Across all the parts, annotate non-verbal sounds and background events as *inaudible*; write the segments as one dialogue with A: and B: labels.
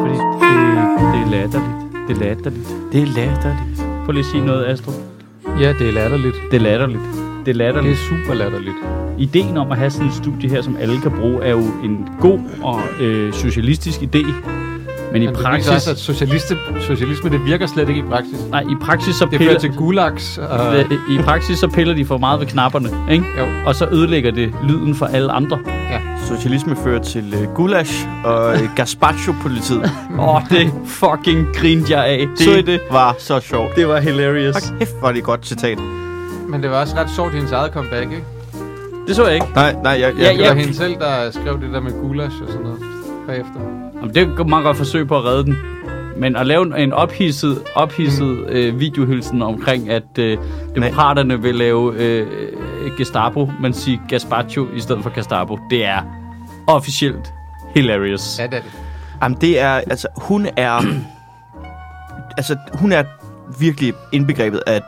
A: Fordi det, det er latterligt. Det er latterligt. Det er latterligt. Prøv lige at sige noget, Astrup.
B: Ja, det er latterligt.
A: Det er latterligt. Det er
B: Det er
A: latterligt.
B: super latterligt.
A: Ideen om at have sådan et studie her, som alle kan bruge, er jo en god og øh, socialistisk idé. Men i
B: Men det viser
A: praksis...
B: også, at socialiste, socialisme, det virker slet ikke i praksis.
A: Nej, i praksis så
B: Det
A: piller...
B: fører til gulags. Og,
A: I praksis så piller de for meget ved knapperne, ikke?
B: jo,
A: Og så ødelægger det lyden for alle andre.
C: Socialisme fører til øh, gulasch og
A: *laughs*
C: øh, gazpacho-politiet.
A: Åh, oh, *laughs* det fucking grinte jeg af.
C: Det,
A: Så I det?
C: var så sjovt.
A: Det var hilarious.
C: Fuck, kæft, var det et godt citat.
B: men det var også ret sjovt, hendes eget comeback, ikke?
A: Det så jeg ikke.
C: Nej, nej, jeg...
A: Ja,
C: jeg
B: Det var
A: ja.
B: hende selv, der skrev det der med gulasch og sådan noget bagefter.
A: Jamen, det er et meget godt forsøg på at redde den. Men at lave en- en ophidset, ophidset øh, videohylsen omkring, at øh, demokraterne vil lave øh, øh, Gestapo, men sige Gaspacho i stedet for Gestapo, det er officielt hilarious.
B: Ja, det er det.
C: Jamen, det er... Altså, hun er... *clears throat* altså, hun er virkelig indbegrebet af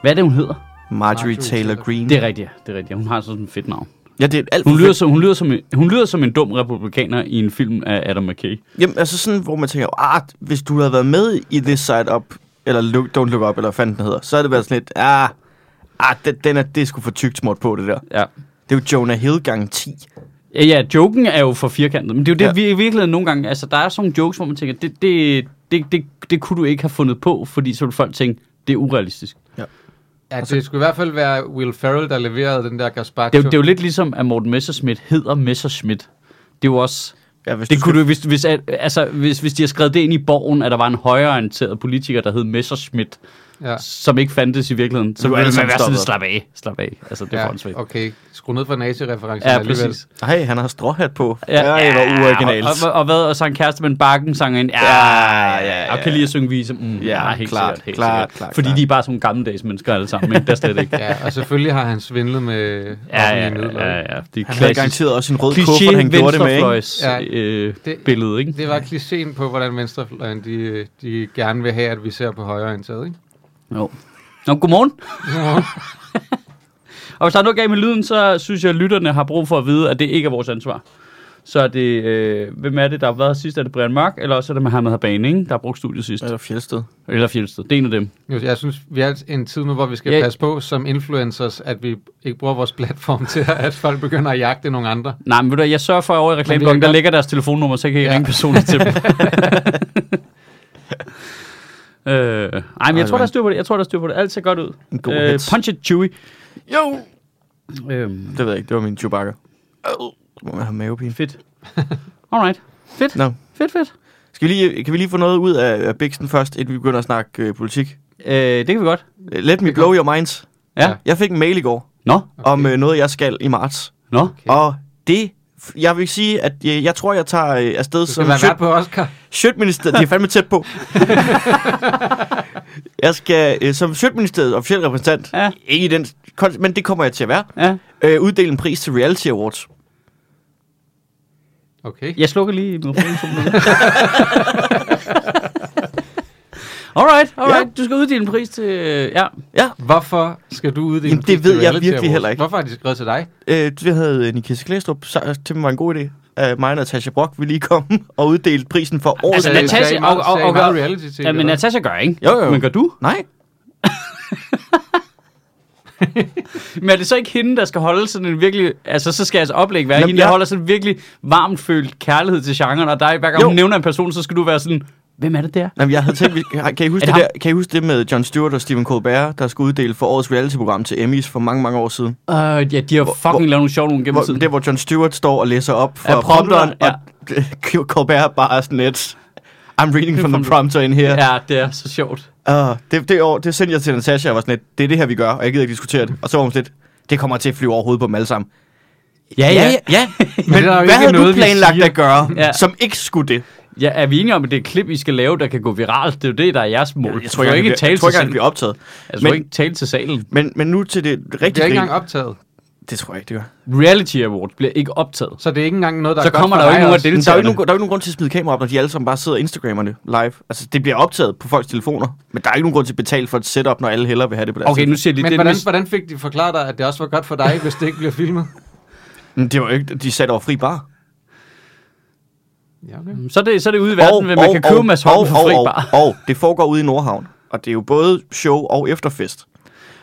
A: Hvad er det, hun hedder?
C: Marjorie
B: Marjorie
C: Taylor
B: Taylor.
C: Greene.
A: Det er rigtigt, ja. det er rigtigt. Hun har sådan et fedt navn.
C: Ja, det er alt
A: Hun
C: for
A: lyder,
C: fedt.
A: som, hun, lyder som en, hun lyder som en dum republikaner i en film af Adam McKay.
C: Jamen, altså sådan, hvor man tænker, ah, hvis du havde været med i This Side Up, eller look, Don't Look Up, eller hvad fanden den hedder, så havde det været sådan lidt, ah, ah den, den er, det er sgu for tykt småt på, det der.
A: Ja.
C: Det er jo Jonah Hill gange 10.
A: Ja, ja, joken er jo for firkantet, men det er jo det, ja.
C: Ja.
A: vi i virkeligheden nogle gange... Altså, der er sådan nogle jokes, hvor man tænker, det, det, det, det, det kunne du ikke have fundet på, fordi så ville folk tænke, det er urealistisk.
B: Ja, det skulle i hvert fald være Will Ferrell, der leverede den der
A: Det,
B: gazpacho.
A: er jo- det er jo lidt ligesom, at Morten Messerschmidt hedder Messerschmidt. Det er jo også...
C: Ja, hvis
A: Det kunne du, hvis, hvis, at- altså, hvis, hvis de har skrevet det ind i borgen, at der var en højreorienteret politiker, der hed Messerschmidt,
B: Ja.
A: som ikke fandtes i virkeligheden, så
C: Nu er
A: ville
C: alle
A: man
C: sammen
A: være sådan,
C: stoppet.
A: slap af, slap af. Altså, det er
B: ja,
A: forhåndsvagt.
B: okay. Skru ned for nazi-referencen
A: Ja, præcis.
C: Nej, han har stråhat på.
A: Ja,
C: Ja, det var uoriginalt.
A: Og, og, og hvad? Og så en kæreste med en bakken sanger ind. Ja,
C: Ja, ja, ja.
A: Og kan lige at synge vise. Mm,
C: Ja,
A: nej, helt
C: klart,
A: sikkert, helt
C: klart,
A: sikkert.
C: klart,
A: Fordi
C: klart.
A: de er bare sådan nogle gammeldags mennesker alle sammen. Ikke? Der er slet
C: *laughs*
A: ikke. ja,
B: Ja, og selvfølgelig har han svindlet med
A: ja, ja,
B: offentlige midler.
A: ja, ja. Det er
C: Han havde
A: klassisk.
C: garanteret også en rød
A: Kliché
C: kuffert, han gjorde det med, ikke?
A: venstrefløjs
B: Ja.
A: øh,
B: Det-
A: billede, ikke?
B: Det var klichéen på, hvordan venstrefløjen de, øh, de gerne vil have, at vi ser på højre indtaget, ikke?
A: Jo. Nå, godmorgen. *laughs* og hvis der er noget galt med lyden, så synes jeg, at lytterne har brug for at vide, at det ikke er vores ansvar. Så er det, øh, hvem er det, der har været her sidst? Er det Brian Mørk, eller også er det Mohammed Habane, ikke? der har brugt studiet sidst?
C: Eller Fjeldsted.
A: Eller Fjeldsted. Det er en af dem.
B: Jo, Jeg synes, vi er i en tid nu, hvor vi skal
A: Ja.
B: ja. passe på som influencers, at vi ikke bruger vores platform *laughs* til, at folk begynder at jagte nogle andre.
A: Nej, men ved du, hvad, jeg sørger for at over i
B: kan
A: reklameblokken, der
B: godt-
A: ligger deres telefonnummer, så kan jeg ja.
B: Ja.
A: ringe personligt til dem. øh, ej, men jeg
C: det
A: tror,
C: var
A: der er styr på det. Jeg tror, der er styr på det. Alt ser godt ud. Øh,
C: En god hits.
A: punch it, Chewy.
C: Jo!
A: Øh,
C: Det ved jeg ikke, det var min Chewbacca. Au. Må man have mavepine.
A: *laughs* fedt. Alright. Fedt.
C: Nå.
A: Fedt, fedt.
C: Skal vi lige, kan vi lige få noget ud af, af Bixen først, inden vi begynder at snakke øh, politik?
A: Øh, det kan vi godt.
C: Øh, Let me blow your minds.
A: Ja.
B: Ja.
C: Jeg fik en mail i går
A: Nå,
C: okay. om øh, noget, jeg skal i marts.
A: nå.
B: Okay.
C: Og det... f- Jeg vil sige, at jeg, jeg tror, jeg tager øh, afsted
B: Du skal
C: som
B: være vært
C: sjøt-
B: på Oscar.
C: Sjøtministeriet. De er fandme
A: *laughs*
C: tæt på. jeg skal øh, som Sjøtministeriet officiel repræsentant,
A: Ja.
C: ikke i den, kon- men det kommer jeg til at være,
A: Ja.
C: øh, uddele en pris til Reality Awards.
B: Okay.
A: Jeg slukker lige mikrofonen. to minutter. alright, alright. Ja. Du skal uddele en pris til... Ja.
B: Hvorfor skal du uddele
C: Jamen,
B: en pris
C: det ved
B: til
C: jeg
B: reality
C: virkelig
B: awards?
C: heller ikke.
B: Hvorfor har de skrevet til dig?
A: Altså,
C: Øh, det havde øh, Nikita Klæstrup sagt til mig var en god idé. Uh, mig og Natasha Brock ville lige komme *laughs* og uddele prisen for årets...
A: Altså,
B: Sagde-
A: Natasha-
B: sagde I meget-
A: og- og-
B: sagde I
A: og-
B: meget reality TV,
A: ja, men
B: eller?
A: Natasha gør, ikke?
C: Jo, jo.
A: Men gør du?
C: Nej,
A: Men er det så ikke hende, der skal holde sådan en virkelig... Altså, så skal jeres oplæg være
C: Jamen,
A: hende, der
C: jeg-
A: holder sådan en virkelig varmt følt kærlighed til genren, og dig, hver gang
C: Jo.
A: hun nævner en person, så skal du være sådan... Hvem er det der?
C: Jamen, jeg havde tænkt, vi-
A: *laughs*
C: kan I, huske
A: Er det
C: det der, kan I huske det med John Stewart og Stephen Colbert, der skulle uddele for årets reality-program til Emmys for mange, mange år siden?
A: Uh, ja, de har fucking
C: hvor-
A: lavet nogle sjove nogle gennem
C: Hvor,
A: tiden.
C: det, hvor John Stewart står og læser op
A: Ja,
C: fra
A: prompteren,
C: prompteren, og ja. *laughs* Colbert bare er sådan lidt, I'm
A: *laughs*
C: reading from the prompter in here.
A: ja, det er så sjovt.
C: Ja. Uh, det, det, år, det sendte jeg til Natasha, og var sådan lidt, det er det her, vi gør, og jeg gider ikke diskutere det. Og så var hun sådan lidt, det kommer til at flyve over hovedet på dem alle sammen.
A: Ja, ja. *laughs*
C: ja.
B: det er
C: Men
B: jo
C: hvad
B: ikke
C: havde du
B: noget, vi
C: planlagt
B: siger.
C: at gøre,
A: Ja.
C: ja. som ikke skulle det?
A: Ja, er vi enige om, at det er et klip, I skal lave, der kan gå viralt? Det er jo det, der er jeres mål.
C: Jeg tror ikke,
A: ikke
C: jeg, jeg,
A: tale
C: jeg tror
A: til
C: ikke, han
A: salen. Altså,
C: bliver optaget.
A: Jeg tror
C: Men-
A: ikke tale til salen.
C: Men, men nu til det
B: Det er
C: rigtig
B: ikke engang optaget.
C: Det tror jeg ikke, det gør.
A: Reality Awards bliver ikke optaget.
B: Så det er ikke engang noget, der
A: Så
B: er godt
A: kommer
B: for
A: der jo
B: dig
A: ikke nogen
B: også.
A: af
C: Men der er jo ikke nogen,
A: deltagerne.
C: der er jo ikke nogen grund til at smide kamera op, når de alle sammen bare sidder og Instagrammerne live. Altså, det bliver optaget på folks telefoner, men der er ikke nogen grund til at betale for et setup, når alle hellere vil have det på deres
A: Okay, nu siger de,
B: Men
A: det er
B: hvordan,
A: mest...
B: hvordan fik de forklaret dig, at det også var godt for dig, hvis det ikke bliver
A: *laughs*
B: filmet?
C: Men det var jo ikke, de satte over fri bar.
B: Ja, okay.
A: Så er det, så er det ude i verden, hvor man kan købe Mads Holm for fri bar.
C: Og, og det foregår ude i Nordhavn, og det er jo både show og efterfest.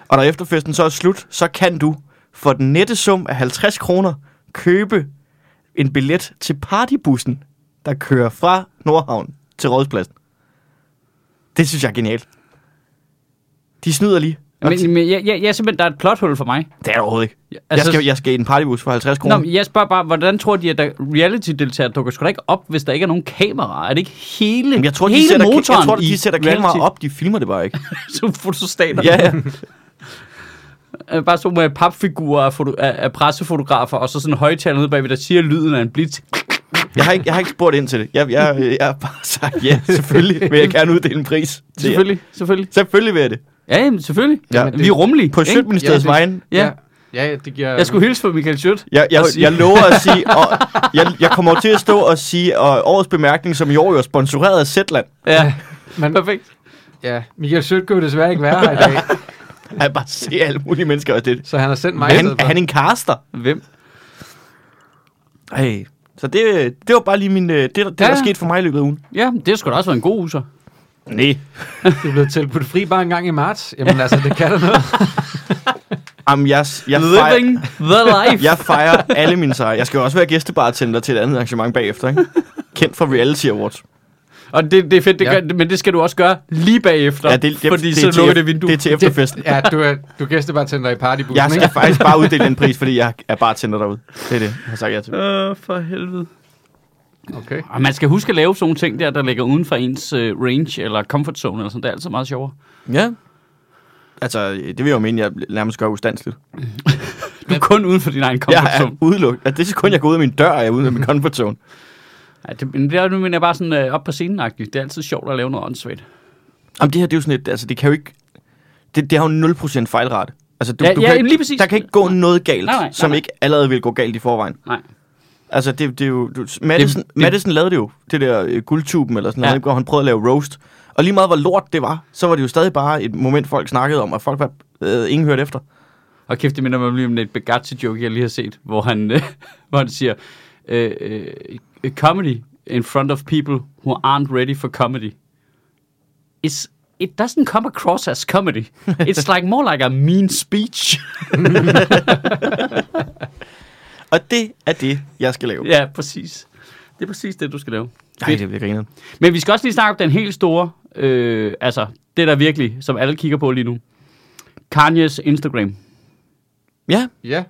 C: Og når efterfesten så er slut, så kan du for den nette sum af 50 kroner købe en billet til partybussen, der kører fra Nordhavn til Rådspladsen. Det synes jeg er genialt. De snyder lige.
A: Men, men jeg, jeg, jeg, simpelthen, der er et plothul for mig.
C: Det er der overhovedet ikke. Altså, jeg,
A: Altså-
C: skal, jeg skal i en partybus for 50 kroner.
A: Nå, men jeg spørger bare, hvordan tror de, at der reality-deltagere dukker sgu da ikke op, hvis der ikke er nogen kameraer? Er det ikke hele,
C: Jamen, jeg tror,
A: hele
C: de sætter,
A: motoren
C: jeg tror,
A: i
C: de sætter
A: reality?
C: kameraer op. De filmer det bare ikke.
A: *laughs* Som fotostater.
C: ja, ja.
A: Øh, Bare så med papfigurer af, foto- af, af pressefotografer, og så sådan en højtaler nede bagved, der siger lyden af en blitz.
C: Jeg har, ikke, jeg har ikke spurgt ind til det. Jeg, jeg, jeg har bare sagt, ja, selvfølgelig vil jeg gerne uddele en pris. til jer.
A: Selvfølgelig, selvfølgelig.
C: Selvfølgelig vil jeg det.
A: Ja, jamen, selvfølgelig.
C: Ja.
A: Ja, vi er rummelige.
C: På
A: ikke?
C: Sjøtministeriets
B: Ja, det-
C: vejen.
A: Ja.
B: ja. Ja, det giver...
A: Jeg skulle hilse på Michael Schutt.
C: Jeg, jeg,
A: Og-
C: jeg lover at sige, og jeg, jeg kommer jo til at stå og sige, og årets bemærkning, som i år jo er sponsoreret af Zetland,
A: Ja,
B: Men,
A: perfekt.
B: ja, Michael Sødt kunne desværre ikke være her i dag,
C: at jeg bare ser alle mulige mennesker og det.
B: så han har sendt mig...
C: Er
B: i
C: han,
B: stedet
C: er
B: for.
C: han en caster?
A: Hvem?
C: Ej. Så det, det var bare lige min, øh, det, det der
A: Ja.
C: er sket for mig i løbet af ugen.
A: Ja, det skulle da også være en god user.
C: Nej.
B: Du er blevet tilbudt fri bare en gang i marts. Jamen altså, det kan da noget.
C: Jamen, jeg, jeg, fejrer,
A: Living the life.
C: jeg fejrer alle mine sejre. Jeg skal jo også være gæstebartender til et andet arrangement bagefter, ikke? Kendt fra Reality Awards.
A: Og det, det er fedt, det
B: Ja.
A: gør, men det skal du også gøre lige bagefter,
C: Ja, det, det,
A: fordi
C: det,
A: så
C: er til
A: lukker
C: ef-
A: det vindue.
C: *laughs* Det er
A: *laughs*
C: til efterfesten.
B: Ja, du er, du er gæstebartender i partybussen,
C: Jeg skal
B: ikke?
C: faktisk bare uddele den pris, fordi jeg er bartender derude. Det er det, jeg har sagt ja til.
A: Åh, for helvede.
B: Okay.
A: Og Ah, man skal huske at lave sådan nogle ting der, der ligger uden for ens øh, range eller comfort zone eller sådan. Det er altid meget sjovere.
C: Ja. Altså, det vil jeg jo mene, jeg nærmest gør ustandsligt.
A: Du er kun uden for din egen comfort
C: Jeg er
A: zone.
C: udelukket. Altså, det er så kun, jeg går ud af min dør, er jeg ude af min comfort zone.
A: Ja, det, men det er, nu mener jeg bare sådan øh, op på scenen -agtigt. Det er altid sjovt at lave noget åndssvagt.
C: Jamen, det her, det er jo sådan et, altså, det kan jo ikke... Det, det har jo 0% fejlrate. Altså, du,
A: Ja, ja,
C: du kan,
A: jamen,
C: ikke-
A: lige præcis.
C: Der kan ikke gå noget galt,
A: Nej, nej, nej,
C: som
A: nej.
C: ikke allerede vil gå galt i forvejen.
A: Nej.
C: Altså, det, det er jo... Du, Madison,
A: det-
C: det, Madison lavede det jo, det der øh, guldtuben eller sådan
A: Ja.
C: noget, ikke, hvor han prøvede at lave roast. Og lige meget hvor lort det var, så var det jo stadig bare et moment, folk snakkede om, og folk var øh, ingen hørte efter.
A: Og kæft, det minder mig lige om et Bagazi-joke, jeg lige har set, hvor han, øh, *laughs* hvor han siger, øh, øh, comedy in front of people who aren't ready for comedy. It's, it doesn't come across as
C: *laughs*
A: comedy. It's like more like a mean speech.
C: Og det er det, jeg skal lave.
A: ja, præcis. Det er præcis det, du skal lave.
C: Nej, det bliver grinet.
A: Men vi skal også lige snakke om den helt store, øh, altså det der virkelig, som alle kigger på lige nu. Kanye's Instagram.
C: Ja,
B: Ja,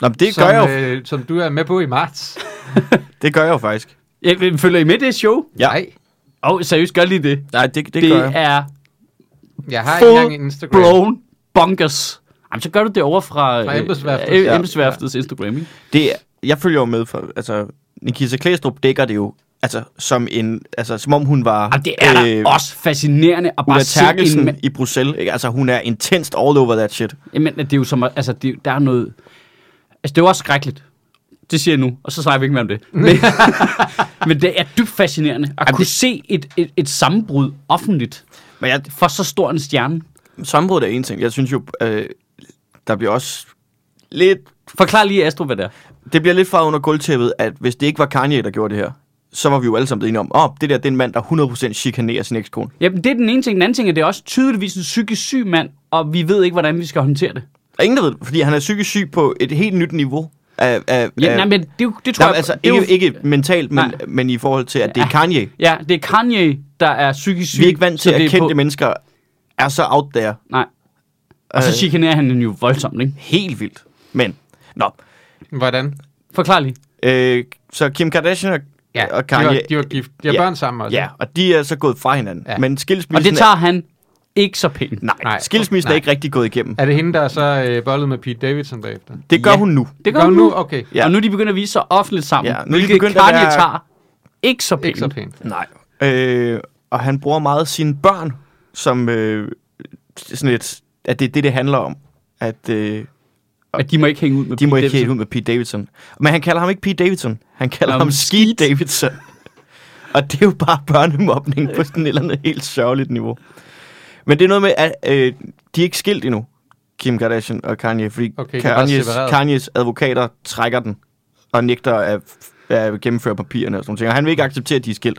C: Nå, men det,
B: som,
C: gør jeg jo,
B: øh, som du er med på i marts.
C: det gør jeg jo faktisk.
A: Jeg, følger I med det show?
C: Ja.
B: Nej,
A: Åh, oh, seriøst, gør lige det.
C: Nej, det, det,
A: Det,
C: gør jeg.
A: er
B: jeg har ikke
A: Full
B: engang en Instagram.
A: blown bonkers. Jamen, så gør du det over fra,
B: Fra
A: øh,
B: embedsværftet.
A: øh,
C: Ja.
A: embedsværftets Instagram, ikke?
C: Det er, jeg følger jo med for, altså, Nikita Klæstrup dækker det jo, altså, som en, altså, som om hun var...
A: Jamen, det er da også fascinerende at
C: Ulla
A: bare se en
C: Terkelsen
A: mand.
C: i Bruxelles, ikke? Altså, hun er intenst all over that shit.
A: Jamen, det er jo som, at- altså, det, er- der er noget... Altså, det er jo også skrækkeligt. Det siger jeg nu, og så snakker vi ikke mere om
B: *laughs*
A: det. Men, *laughs* men det er dybt fascinerende at kunne se et, et, et sammenbrud offentligt
C: Men jeg,
A: for så stor en stjerne.
C: sammenbrud er en ting. Jeg synes jo, øh, der bliver også lidt...
A: Forklar lige, Astro, hvad det er.
C: Det bliver lidt fra under gulvtæppet, at hvis det ikke var Kanye, der gjorde det her, så var vi jo alle sammen blevet enige om, åh, oh, det der, det er en mand, der 100% chikanerer sin ekskone.
A: Jamen, det er den ene ting. Den anden ting er, at det er også tydeligvis en psykisk syg mand, og vi ved ikke, hvordan vi skal håndtere det.
C: Der er ingen, der ved det, fordi han er psykisk syg på et helt nyt niveau. Af, af,
A: Ja,
C: af,
A: nej, men det, er jo- det tror
C: nej,
A: jeg...
C: altså,
A: det er
C: ikke,
A: jo,
C: ikke mentalt, men,
A: Nej.
C: men i forhold til, at det er Kanye.
A: Ja, det er Kanye, der er psykisk syg.
C: Vi er ikke vant til,
A: så det
C: at
A: er
C: kendte mennesker er så out there.
A: Nej. Og så
C: Øh.
A: chikanerer han den jo voldsomt, ikke?
C: Helt vildt. Men, nå.
B: Hvordan?
A: Forklar lige.
C: Øh, så Kim Kardashian og, ja, og
B: De
C: Kanye,
B: var, de var gift. De har
C: Ja.
B: børn sammen også.
C: ja, og de er så gået fra hinanden.
B: Ja.
C: Ja. Men
A: Altså- Og
C: skilsmissen
A: det tager han ikke så pænt.
C: er, nej,
B: Nej,
C: nej, skilsmissen
B: nej.
C: er ikke rigtig gået igennem.
B: Er det hende, der så øh, bollede med Pete Davidson bagefter?
C: Det gør
A: Ja.
C: ja. hun nu.
A: Det gør han nu.
B: Okay,
C: Ja.
A: Og nu er de begyndt at vise sig offentligt sammen,
C: Ja, nu er de
A: hvilket Kanye
C: begyndt at være-
A: tager ikke så pænt.
B: ikke så pænt.
C: Nej. Øh, og han bruger meget sine børn som øh, sådan et, at det er det, det handler om. At, øh,
A: At de må ikke hænge ud med
C: De må
A: Pete
C: ikke helt
A: Davidson.
C: ud med Pete Davidson. Men han kalder ham ikke Pete Davidson. Han kalder
A: Nå,
C: ham
A: men
C: Ski Davidson. Og det er jo bare børnemobning på sådan et eller andet helt sørgeligt niveau. Men det er noget med, at øh, de er ikke skilt endnu, Kim Kardashian og Kanye, fordi
B: Okay,
C: okay,
B: de er bare
C: Kanye's,
B: separeret.
C: Kanye's advokater trækker den og nægter at, at gennemføre papirerne og sådan noget. Og han vil ikke acceptere, at de er skilt.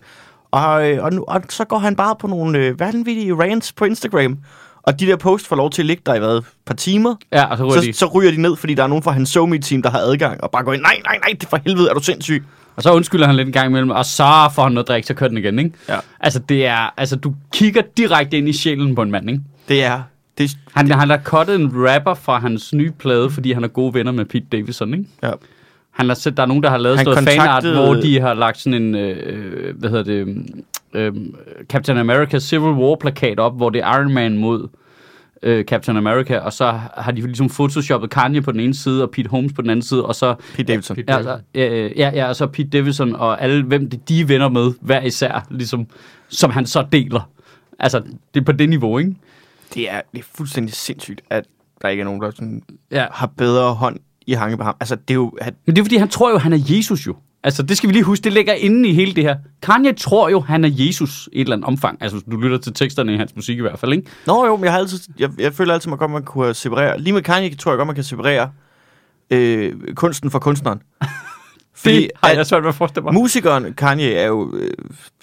C: Og, øh, og, nu, og så går han bare på nogle øh, vanvittige rants på Instagram. Og de der posts får lov til at ligge der i hvad, et par timer.
A: Ja, og så ryger
C: Så,
A: de.
C: så ryger de ned, fordi der er nogen fra hans SoMe-team, der har adgang, og bare går ind, nej, nej, nej, det er for helvede, er du sindssyg?
A: Og så undskylder han lidt en gang imellem, og så får han noget drik, så kører den igen, ikke?
C: Ja.
A: Altså, det er, altså, du kigger direkte ind i sjælen på en mand, ikke?
C: Det er, det,
A: Han, han har kottet en rapper fra hans nye plade, fordi han er gode venner med Pete Davidson, ikke?
C: ja.
A: Han har set, der er nogen, der har lavet
C: Han
A: sådan noget fanart,
C: kontaktede-
A: hvor de har lagt sådan en, øh, øh, hvad hedder det, øh, Captain America Civil War plakat op, hvor det er Iron Man mod øh, Captain America, og så har de ligesom photoshoppet Kanye på den ene side, og Pete Holmes på den anden side, og så
C: Pete Davidson.
B: Pete-
A: Ja, altså, øh, ja, ja, og så Pete Davidson og alle, hvem det, de er venner med, hver især, ligesom, som han så deler. Altså, det er på det niveau, ikke?
C: Det er, det er fuldstændig sindssygt, at der ikke er nogen, der sådan,
A: Ja.
C: har bedre hånd i hanke på ham. Altså, det er jo, at,
A: Men det er fordi, han tror jo, han er Jesus jo. Altså, det skal vi lige huske, det ligger inde i hele det her. Kanye tror jo, han er Jesus i et eller andet omfang. Altså, hvis du lytter til teksterne i hans musik i hvert fald, ikke?
C: Nå jo, men jeg, har altid, jeg, jeg føler altid, man godt man kunne separere. Lige med Kanye tror jeg godt, man kan separere øh, kunsten fra *laughs* kunstneren.
A: Fordi,
C: Fordi
A: det har
C: at
A: jeg svært ved at forestille mig.
C: musikeren Kanye er jo øh,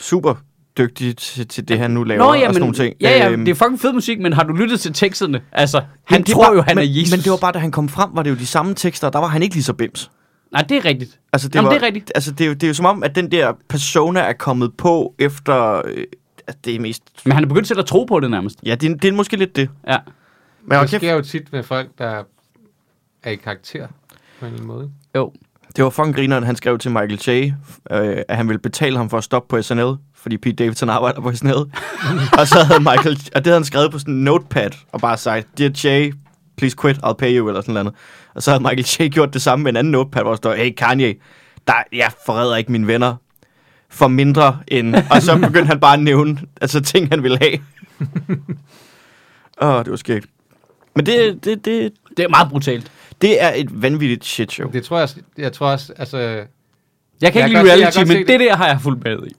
C: super dygtig til, til det, han nu laver og sådan nogle ting.
A: ja, ja,
C: Øhm,
A: det er fucking fed musik, men har du lyttet til teksterne? Altså, han
C: Men det
A: tror
C: var-
A: jo, han
C: men,
A: er Jesus.
C: Men det var bare, da han kom frem, var det jo de samme tekster, og der var han ikke lige så bims.
A: Nej, det er rigtigt.
C: Altså, det,
A: Jamen,
C: var,
A: det er rigtigt.
C: Altså, det, er jo, det er jo som om, at den der persona er kommet på efter... Øh, at det er mest...
A: Men han er begyndt selv at tro på det nærmest.
C: Ja, det er, det er måske lidt det.
A: Ja.
C: Men
B: Det
C: okay,
B: sker jo tit med folk, der er i karakter på en eller anden måde. ikke?
A: Jo.
C: det var fucking grineren, han skrev til Michael Che, øh, at han ville betale ham for at stoppe på SNL, fordi Pete Davidson arbejder på *laughs* SNL. og så havde Michael... Og det havde han skrevet på sådan en notepad, og bare sagt, Dear Che, please quit, I'll pay you, eller sådan noget. Og så havde Michael Che gjort det samme med en anden notepad, hvor der står, Hey Kanye, der, jeg forræder ikke mine venner for mindre end... Og så begyndte han bare at nævne altså, ting, han ville *laughs* have. Åh, oh, det var skægt. Men det, det, det,
A: Det er meget brutalt.
C: det er et vanvittigt shit show.
B: Det tror jeg, også- jeg tror også, altså,
A: Jeg kan
B: Jeg
A: ikke
B: kan
A: lide
B: godt se- jeg
A: reality,
B: kan godt
A: men
B: se
A: det. det
B: det.
A: der har jeg fuldt med i.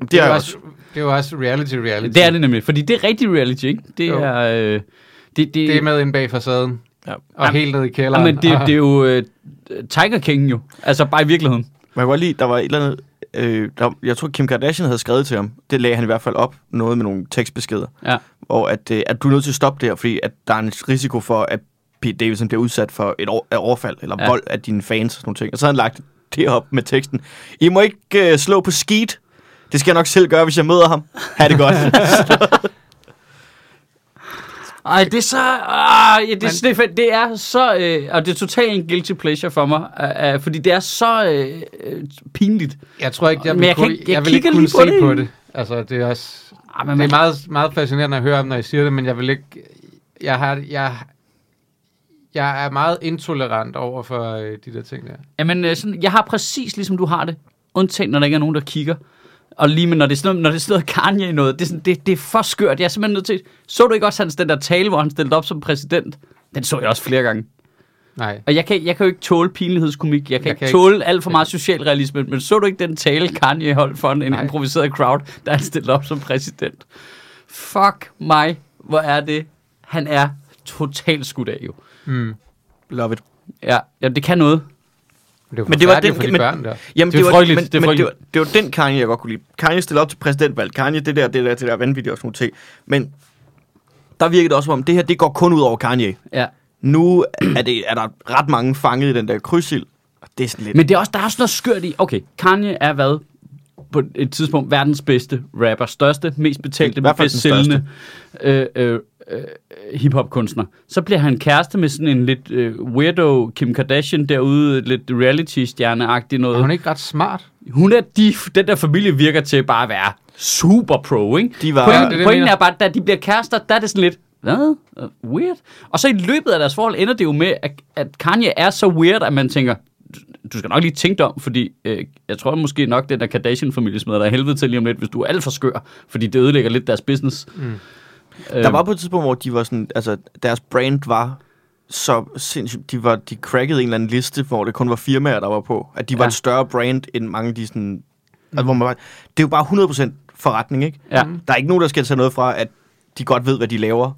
C: Det er
B: jo
C: jeg
B: også,
C: også.
B: det er jo også reality reality.
A: Det er det nemlig, fordi det er rigtig reality, ikke? Det
B: Jo.
A: er... Øh, det, det,
B: Det er med inde bag facaden.
C: Ja.
B: Og
A: Jamen-
B: helt ned i
A: ja,
B: kælderen.
A: men det,
B: og,
A: det er jo øh, Tiger King jo. Altså bare i virkeligheden.
C: Man kan godt lide, der var et eller andet... Øh, der, jeg tror, Kim Kardashian havde skrevet til ham. Det lagde han i hvert fald op. Noget med nogle tekstbeskeder.
A: Ja.
C: Hvor at, øh, at du er nødt til at stoppe det her, fordi at der er en risiko for, at Pete Davidson bliver udsat for et over, et overfald eller
A: Ja.
C: ja. vold af dine fans og sådan nogle ting. Og så havde han lagt det op med teksten. I må ikke øh, slå på skid. Det skal jeg nok selv gøre, hvis jeg møder ham. Ha' det godt.
A: Ej, det er så... Øh, ja, det,
B: Men-
A: det, er- det er så... Øh, og det er totalt en guilty pleasure for mig, øh, øh, fordi det er så øh, øh, pinligt.
B: *laughs* Jeg tror ikke, jeg,
A: Men
B: vil
A: jeg kan
B: kunne,
A: ikke- jeg
B: vil ikke
A: kigger
B: kunne
A: lige på
B: se
A: det.
B: på det. Altså, det er også...
C: Ah,
A: Ej,
B: Men det er meget, meget fascinerende at høre om, når I siger det, men jeg vil ikke... Jeg, har, jeg, jeg er meget intolerant over for øh, de der ting der.
A: Jamen, øh, sådan, jeg har præcis ligesom du har det, undtagen når der ikke er nogen, der kigger. Og lige med, når det er sådan noget, når det er sådan noget Kanye noget, det er, sådan, det, det er for skørt. Jeg er simpelthen nødt til... Så du ikke også hans den der tale, hvor han stillede op som præsident? Den så jeg også flere gange.
B: Nej.
A: Og jeg kan, jeg kan jo ikke tåle pinlighedskomik. Jeg kan, jeg
B: Jeg
A: ikke
B: kan
A: kan
B: ikke-
A: tåle alt for meget socialrealisme. Men så du ikke den tale, Kanye holdt for en Nej.
B: Nej.
A: improviseret crowd, der han stillede op som præsident? Fuck mig, hvor er det. Han er totalt skudt af jo.
B: Mm.
C: Love it.
A: Ja, jamen, det kan noget.
B: Det
C: Men det var den-
B: for de
C: men-
B: børn der.
C: Jamen,
A: Det er
C: var,
A: frygteligt,
C: Men,
A: det er
C: men det, var,
A: frygteligt.
C: det var den Kanye, jeg godt kunne lide. Kanye stillede op til præsidentvalg. Kanye, det der, det der, det der vanvittigt og sådan nogle ting. Men der virkede det også som om, det her, det går kun ud over Kanye.
A: Ja.
C: Nu er, det, er der ret mange fanget i den der krydsild. Og det er sådan lidt...
A: Men det er også, der er også noget skørt i. Okay, Kanye er hvad? På et tidspunkt verdens bedste rapper. Største, mest
C: I
A: betalte,
C: hvert fald
A: bedst
C: den
A: sælgende øh, øh, øh, hiphop-kunstner. Så bliver han kæreste med sådan en lidt øh, weirdo Kim Kardashian derude, lidt reality-stjerneagtig
B: Er hun
A: noget.
B: ikke ret smart?
A: Hun er de, den der familie virker til bare at være super pro, ikke?
C: De var-
A: Pointen,
B: Ja, det er det, jeg
A: pointen
B: mener.
A: er bare, at da de bliver kærester, der er det sådan lidt, hvad? Uh, Weird. Og så i løbet af deres forhold ender det jo med, at, at Kanye er så weird, at man tænker, "Du- du skal nok lige tænke dig om, fordi øh, jeg tror måske nok, den der Kardashian-familie smider dig af helvede til lige om lidt, hvis du er alt for skør, fordi det ødelægger lidt deres business. Mm.
C: Der var på et tidspunkt, hvor de var sådan, altså, deres brand var så sindssygt, de, var, de crackede en eller anden liste, hvor det kun var firmaer, der var på. At de ja. var
B: Ja.
C: et større brand, end mange af de sådan... Altså, hvor man bare, det er jo bare 100% forretning, ikke?
A: Ja.
C: Der er ikke nogen, der skal tage noget fra, at de godt ved, hvad de laver.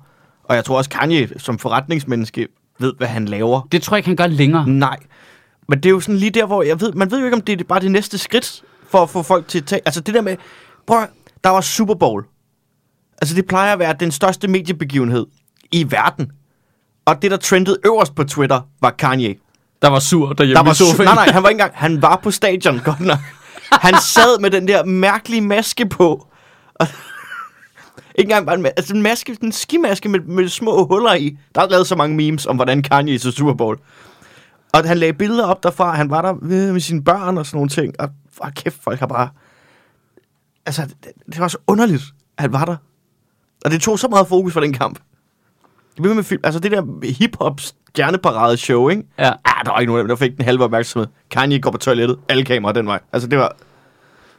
C: Og jeg tror også, Kanye som forretningsmenneske ved, hvad han laver.
A: Det tror jeg ikke, han gør længere.
C: Nej. Men det er jo sådan lige der, hvor jeg ved, man ved jo ikke, om det er bare det næste skridt for at få folk til at tage... Altså det der med, prøv at- der var Super Bowl. Altså det plejer at være den største mediebegivenhed i verden. Og det, der trendede øverst på Twitter, var Kanye.
A: Der var sur derhjemme
C: Der var
A: i sofaen.
C: su- nej, nej, han var ikke engang... Han var på stadion, godt nok. Han sad med den der mærkelige maske på. Og, ikke engang bare en, ma- altså en maske, en skimaske med, med små huller i. Der er lavet så mange memes om, hvordan Kanye så Super Bowl. Og han lagde billeder op derfra. Han var der ved- med sine børn og sådan nogle ting. Og for kæft, folk har bare... Altså, det, det var så underligt, at han var der. Og det tog så meget fokus fra den kamp. Det blev med film. Altså, det der hip-hop stjerneparade-show, ikke?
A: Ja.
C: Ah, der var ikke nogen af dem, der fik den halve opmærksomhed. Kanye går på toilettet, alle kameraer den vej. Altså, det var...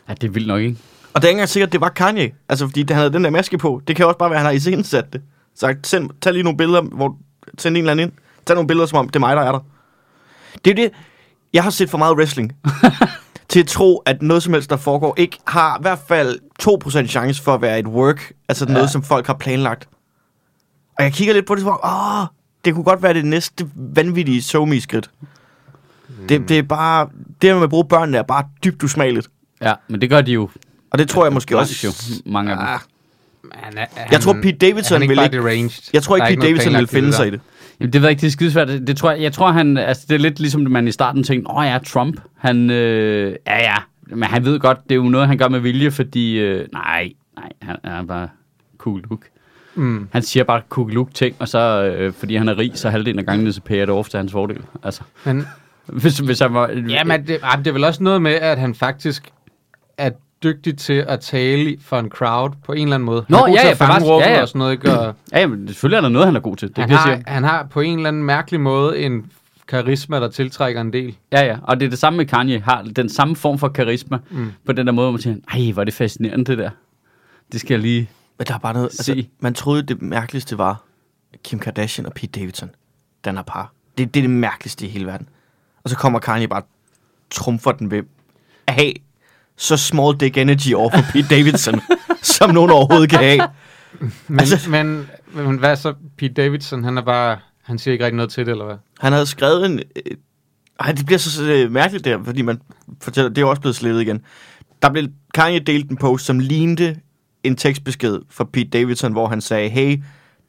A: ja, det er vildt nok, ikke?
C: Og det er ikke engang sikkert, at det var Kanye. Altså, fordi han havde den der maske på. Det kan også bare være, at han har iscenesat det. Så send, tag lige nogle billeder, hvor... Send en eller anden ind. Tag nogle billeder, som om det er mig, der er der. Det er jo det... Jeg har set for meget wrestling. til at tro, at noget som helst, der foregår, ikke har i hvert fald 2% chance for at være et work. Altså noget, som folk har planlagt. Og jeg kigger lidt på det, som om, åh, det kunne godt være det næste vanvittige somi skridt det, det er bare... Det her med at bruge børnene er bare dybt usmageligt.
A: Ja, men det gør de jo.
C: Og det tror jeg måske også...
A: langt Jo, mange af dem.
C: Ah,
B: Han er, han,
C: Jeg tror, Pete
B: er
C: Davidson
B: han ikke
C: vil
B: bare
C: ikke-
B: deranged?
C: Jeg tror
B: Der
C: ikke,
B: er
C: Pete
B: noget
C: Davidson vil
B: planlagt
C: finde
B: det
C: sig i
B: der.
C: det.
A: Jamen, det ved jeg ikke, det er skidesvært. Det, det tror jeg, jeg tror, han, altså, det er lidt ligesom, man i starten tænkte, åh ja, Trump, han, øh, ja ja, men han ved godt, det er jo noget, han gør med vilje, fordi, øh, nej, nej, han, han er bare cool look.
B: Mm.
A: Han siger bare cool look ting, og så, øh, fordi han er rig, så halvdelen af gangene, så pærer det over til hans fordel. Altså,
B: Mm. Men,
A: hvis, hvis han var... øh,
B: jamen, det, jamen, det er vel også noget med, at han faktisk er dygtig til at tale for en crowd på en eller anden måde.
A: Nå,
B: han er god
A: ja,
B: til
A: ja,
B: at fange
A: bevares-
B: rummet
A: ja, ja.
B: og sådan noget, ikke? Og,
A: Ja, jamen, selvfølgelig er der noget, han er god til. Det er
B: han,
A: det, jeg siger.
B: har, han har på en eller anden mærkelig måde en karisma, der tiltrækker en del.
A: Ja, ja, og det er det samme med Kanye, har den samme form for karisma, mm. på den der måde, hvor man tænker, ej, hvor er det fascinerende det der. Det skal jeg lige...
C: Men der er bare noget... Altså,
A: Se.
C: man troede, det mærkeligste var Kim Kardashian og Pete Davidson. Den er par. Det, det er det mærkeligste i hele verden. Og så kommer Kanye bare og trumfer den ved at have så small dick energy over for Pete
B: *laughs*
C: Davidson, som nogen overhovedet kan have.
B: Men,
C: Altså-
B: altså... men, men hvad så? Pete Davidson, han er bare... Han siger ikke rigtig noget til det, eller hvad?
C: Han havde skrevet en... Øh, ej, det bliver så, så øh, mærkeligt der, fordi man fortæller... Det er jo også blevet slettet igen. Der blev Kanye delt en post, som lignede en tekstbesked fra Pete Davidson, hvor han sagde, hey,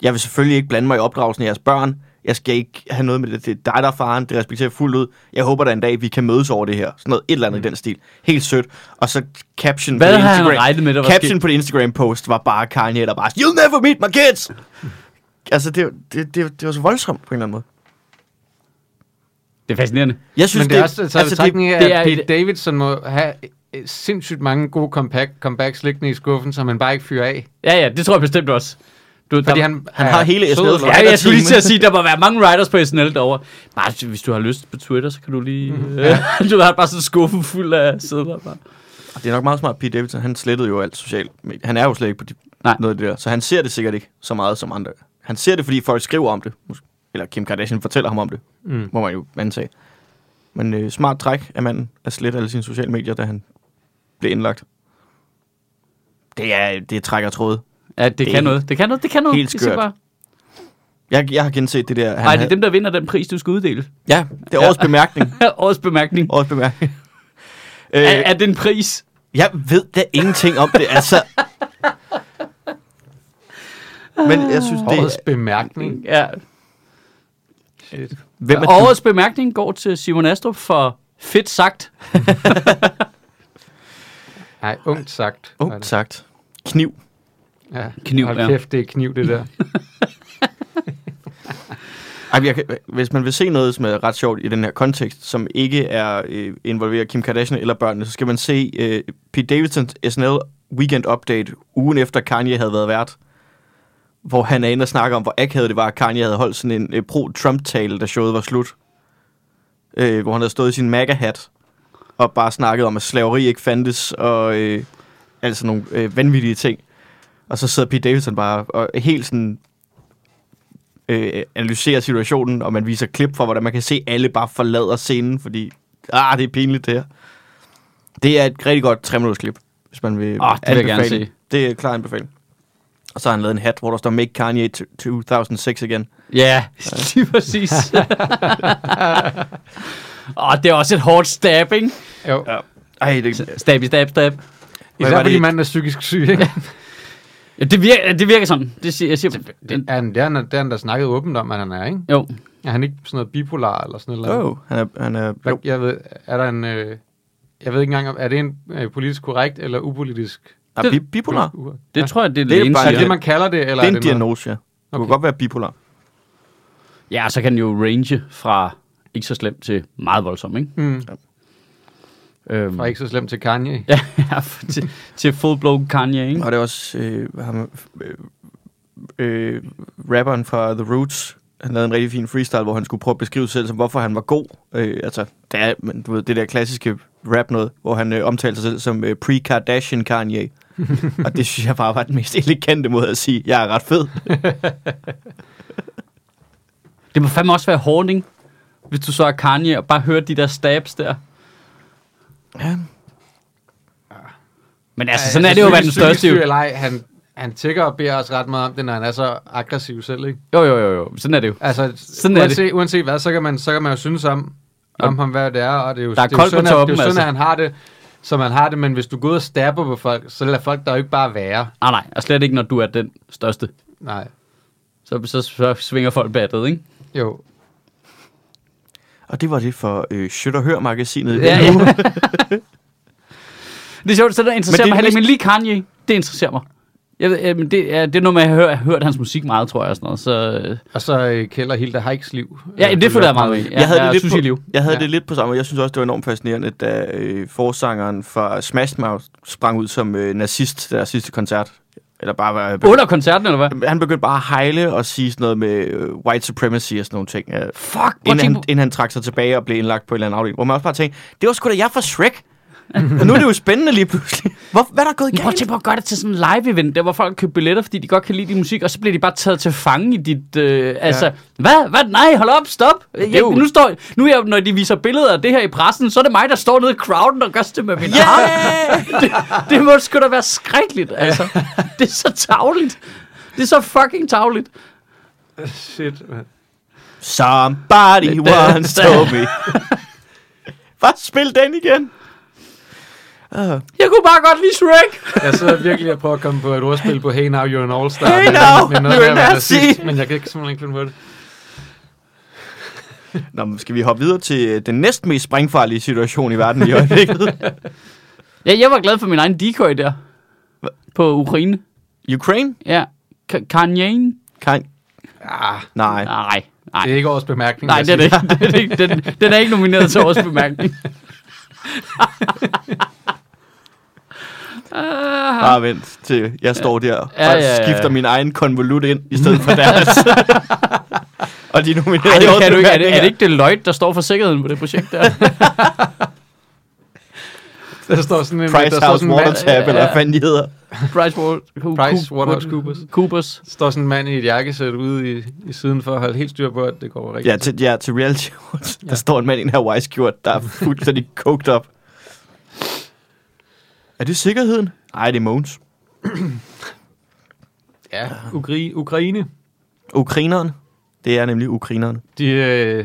C: jeg vil selvfølgelig ikke blande mig i opdragelsen af jeres børn. Jeg skal ikke have noget med det. Det er dig, der er faren. Det respekterer jeg fuldt ud. Jeg håber da en dag, vi kan mødes over det her. Sådan noget, et eller andet i den stil. Helt sødt. Og så caption
A: Mm. Hvad
C: på det
A: havde han
C: Instagram.
A: regnet med, der var
C: caption
A: sket?
C: på det Instagram-post var bare Kanye, der bare, you'll never meet my kids! altså, det, det, det, det var så voldsomt på en eller anden måde.
A: Det er fascinerende.
C: Jeg synes,
B: Men det er også altså, altså, det,
A: det
B: det
A: er
B: at Pete
A: et-
B: Davidson må have øh, sindssygt mange gode comeback, comebacks liggende i skuffen, som han bare ikke fyrer af.
A: Ja, ja, det tror jeg bestemt også. Du,
B: Fordi
A: der,
B: han,
C: han
B: er
C: har hele
B: sød
C: SNL
B: og-
A: Ja, jeg skulle lige
C: team.
A: til at sige, der må være mange writers på SNL derovre. Bare, hvis du har lyst på Twitter, så kan du lige... Mm-hmm. *laughs* du har bare sådan en skuffe fuld af sædler. Bare.
C: Det er nok meget smart, Pete Davidson, han slettede jo alt socialt. medie. Han er jo slet ikke på de,
A: Nej.
C: noget af det der, så han ser det sikkert ikke så meget som andre. Han ser det, fordi folk skriver om det. Mås- Eller Kim Kardashian fortæller ham om det,
B: Mm.
C: må man jo antage. Men øh, smart træk af manden at slette alle sine sociale medier, da han blev indlagt. Det er, det er træk og tråde.
A: Ja, det, det kan noget. Det kan noget, det kan noget.
C: Helt
A: Jeg siger
C: skørt.
A: Bare,
C: Jeg, jeg har genset det der. Han
A: nej, det
C: havde-
A: er dem, der vinder den pris, du skal uddele. *laughs*
C: Ja, det er årets
B: *laughs*
C: bemærkning.
A: Årets bemærkning.
C: Årets bemærkning. øh,
A: Er, er det en pris?
C: Jeg ved da ingenting om det, altså. Men jeg synes, det
B: Årets bemærkning.
A: Ja.
B: Shit.
C: Hvem er
A: Årets bemærkning går til Simon Astrup for fedt sagt.
B: Nej, ungt sagt.
C: du?
B: var
C: Ungt
B: det.
C: sagt. Kniv.
B: Ja.
A: Kniv, ja.
B: Hold kæft, det er kniv,
A: *laughs*
B: det der.
C: Ej, men jeg kan, hvis man vil se noget, som er ret sjovt i den her kontekst, som ikke er øh, involverer Kim Kardashian eller børnene, så skal man se øh, Pete Davidsons SNL Weekend Update ugen efter Kanye havde været vært, hvor han er inde og snakker om, hvor akavet det var, at Kanye havde holdt sådan en øh, pro-Trump-tale, da showet var slut. Øh, hvor han havde stået i sin MAGA-hat og bare snakket om, at slaveri ikke fandtes, og øh, altså nogle øh, vanvittige ting. Og så sidder Pete Davidson bare og er helt sådan øh, analyserer situationen, og man viser klip fra, hvordan man kan se, at alle bare forlader scenen, fordi ah, det er pinligt det her. Det er et rigtig godt 3 minutters klip, hvis man vil
A: Ah, det vil jeg gerne
C: anbefale.
A: se.
C: Det er klar anbefaling. Og så har han lavet en hat, hvor der står Make Kanye t- 2006 igen.
A: Ja, *laughs* lige præcis. Og det er også et hårdt stab, ikke?
B: Jo.
C: Ja. Ej, det,
A: Stab i stab, stab.
B: Især
C: var det
B: fordi
C: et-
B: manden er psykisk syg, ikke?
A: Ja, det, virker, det virker sådan. Det siger, jeg siger, det,
B: Ja, han, det er han, det er han der snakket åbent om, at han er, ikke?
A: jo.
B: Er han ikke sådan noget bipolar eller sådan noget?
C: oh, han er, han er,
B: Der,
C: jo,
B: jeg ved, er der en... Øh, jeg ved ikke engang, om- er det en øh, politisk korrekt eller upolitisk?
C: er
A: det-
C: bi- bipolar.
B: Ur?
A: Det
B: ja.
A: tror jeg, det er
C: Det er
A: lægen
C: bare-
B: Er det
A: siger.
B: det, man kalder det? Eller
C: Det er en
B: noget-
C: diagnose, ja. Du kan
B: Okay.
C: godt være bipolar.
A: Ja, og så kan den jo range fra ikke så slemt til meget voldsom, ikke?
B: Mm,
A: Øhm,
B: var Mm. ikke så slemt til Kanye.
A: ja, *laughs* ja, til, til full-blown Kanye, ikke?
C: Og det er også øh, ham, øh, øh, rapperen fra The Roots. Han lavede en rigtig fin freestyle, hvor han skulle prøve at beskrive sig selv, som hvorfor han var god. Øh, altså, det er, men, du ved, det der klassiske rap noget, hvor han øh, omtalte sig selv som øh, pre-Kardashian Kanye. og det synes jeg bare var den mest elegante måde at sige, jeg er ret fed.
A: Det må fandme også være hårdt, ikke? Hvis du så er Kanye og bare hører de der stabs der.
C: Ja.
A: Men altså, sådan er det jo at være den
B: Psykisk
A: største.
B: syg
A: Jo,
B: Eller ej, han, han tigger og beder os ret meget om det, når han er så aggressiv selv, ikke?
A: jo, jo, jo. Sådan er det jo.
B: Altså,
A: Sådan
B: sådan
A: er
B: uanset, er det. uanset hvad, så kan man, så kan man jo synes om, om ham, hvad det er, og det er jo,
A: Der er
B: det er jo
A: koldt på
B: sådan,
A: toppen,
B: at, det er jo sådan,
A: altså.
B: at han har det, som han har det, men hvis du går ud og stabber på folk, så lader folk der jo ikke bare være.
A: Ah, nej, og slet ikke, når du er den største.
B: Nej,
A: Så, så, så svinger folk battet, ikke?
B: jo.
C: Og det var det for øh, Shit og Hør-magasinet.
A: Ja, ja. *laughs* det er sjovt, så der interesserer
C: Men det er
A: mig heller ikke, men
C: mest-
A: lige Kanye, det interesserer mig. Jeg, ved- øh, men det, er, det er noget med, at jeg har hørt, jeg har hørt hans musik meget, tror jeg. og Sådan noget, så, øh,
B: Og så øh, Kjeld og Hilda Heiks liv.
A: ja,
B: Øh,
A: det føler jeg meget
B: op
A: med.
B: i.
A: i. Ja,
C: jeg havde,
A: jeg
C: det, lidt
A: synes,
C: på,
A: I liv.
C: jeg havde
B: Ja.
C: det lidt på samme måde. Jeg synes også, det var enormt fascinerende, da øh, forsangeren fra Smash Mouth sprang ud som øh, nazist til deres sidste koncert. Eller bare var...
A: Under koncerten, eller hvad?
C: Han begyndte bare at hejle og sige sådan noget med øh, white supremacy og sådan nogle ting. Øh,
A: Fuck, prøv at
C: inden,
A: tænke
C: han,
A: på-
C: inden han trak sig tilbage og blev indlagt på en eller anden afdeling. Hvor man også bare tænkte, det var sgu da jeg fra Shrek. og nu er det jo spændende lige pludselig. Hvor, hvad er der gået
A: Men Prøv at
C: galt?
A: tænke på at gøre det til sådan en live-event, der hvor folk køber billetter, fordi de godt kan lide din musik, og så bliver de bare taget til fange i dit... Øh, altså, ja. hvad? Hvad? Nej, hold op, stop! Jeg,
C: er jo-
A: nu, står, nu er jeg, når de viser billeder af det her i pressen, så er det mig, der står nede i crowden og gør det med min yeah! arm.
C: Yeah!
A: *laughs* Det, det må sgu da være skrækkeligt, altså. Det er så tavligt. Det er så fucking tavligt.
B: *laughs* Shit, man.
C: Somebody once told
A: *laughs*
C: me. Bare spil den igen. Uh.
A: Jeg kunne bare godt lide Shrek.
B: Jeg sidder virkelig og prøver at komme på et ordspil på Hey Now, You're an All-Star.
C: Hey
B: men-
C: now,
B: men noget
C: you're
B: med at være
C: a
B: nazist,
C: nazi.
B: Men jeg kan ikke simpelthen ikke finde på det.
C: Nå, men skal vi hoppe videre til øh, den næst mest springfarlige situation i verden i øjeblikket?
A: Ja, jeg var glad for min egen decoy der. På *laughs* Ukraine.
C: Ukraine?
A: Ja. Ka- Kanye?
C: Kan...
B: Ah,
C: Nej.
A: Nej. Nej.
B: det er ikke årets bemærkning.
A: Nej,
B: vil
A: det er
B: jeg
A: det ikke. Det er det ikke. Den, den er ikke nomineret til årets *laughs* bemærkning. Ah.
C: Bare vent til jeg står der og
A: Ja, ja, ja.
C: skifter min egen konvolut ind i
A: *laughs*
C: stedet for deres. og de er nomineret
A: Ej,
C: i
A: det
C: årets
A: kan du ikke. Er det,
C: bemærkninger.
A: er det ikke Deloitte, der står for sikkerheden på det projekt *laughs* der?
B: sige. Der står sådan en,
C: Price
B: der står
C: House
B: sådan en mand,
C: Water Tab, eller hvad
A: ja.
C: fanden de hedder.
A: Price, Water,
B: Price Waterhouse Coopers.
A: Coopers.
B: står sådan en mand i et jakkesæt ude i, i siden for at holde helt styr på, at det går rigtigt.
C: Ja, til, ja, til reality awards. Der står en mand i en her wise skjort, der er fuldstændig coked op. Er det sikkerheden? Nej, det er Måns.
B: ja. Ukri- Ukraine.
C: Ukrineren. Det er nemlig ukrineren.
B: De, øh,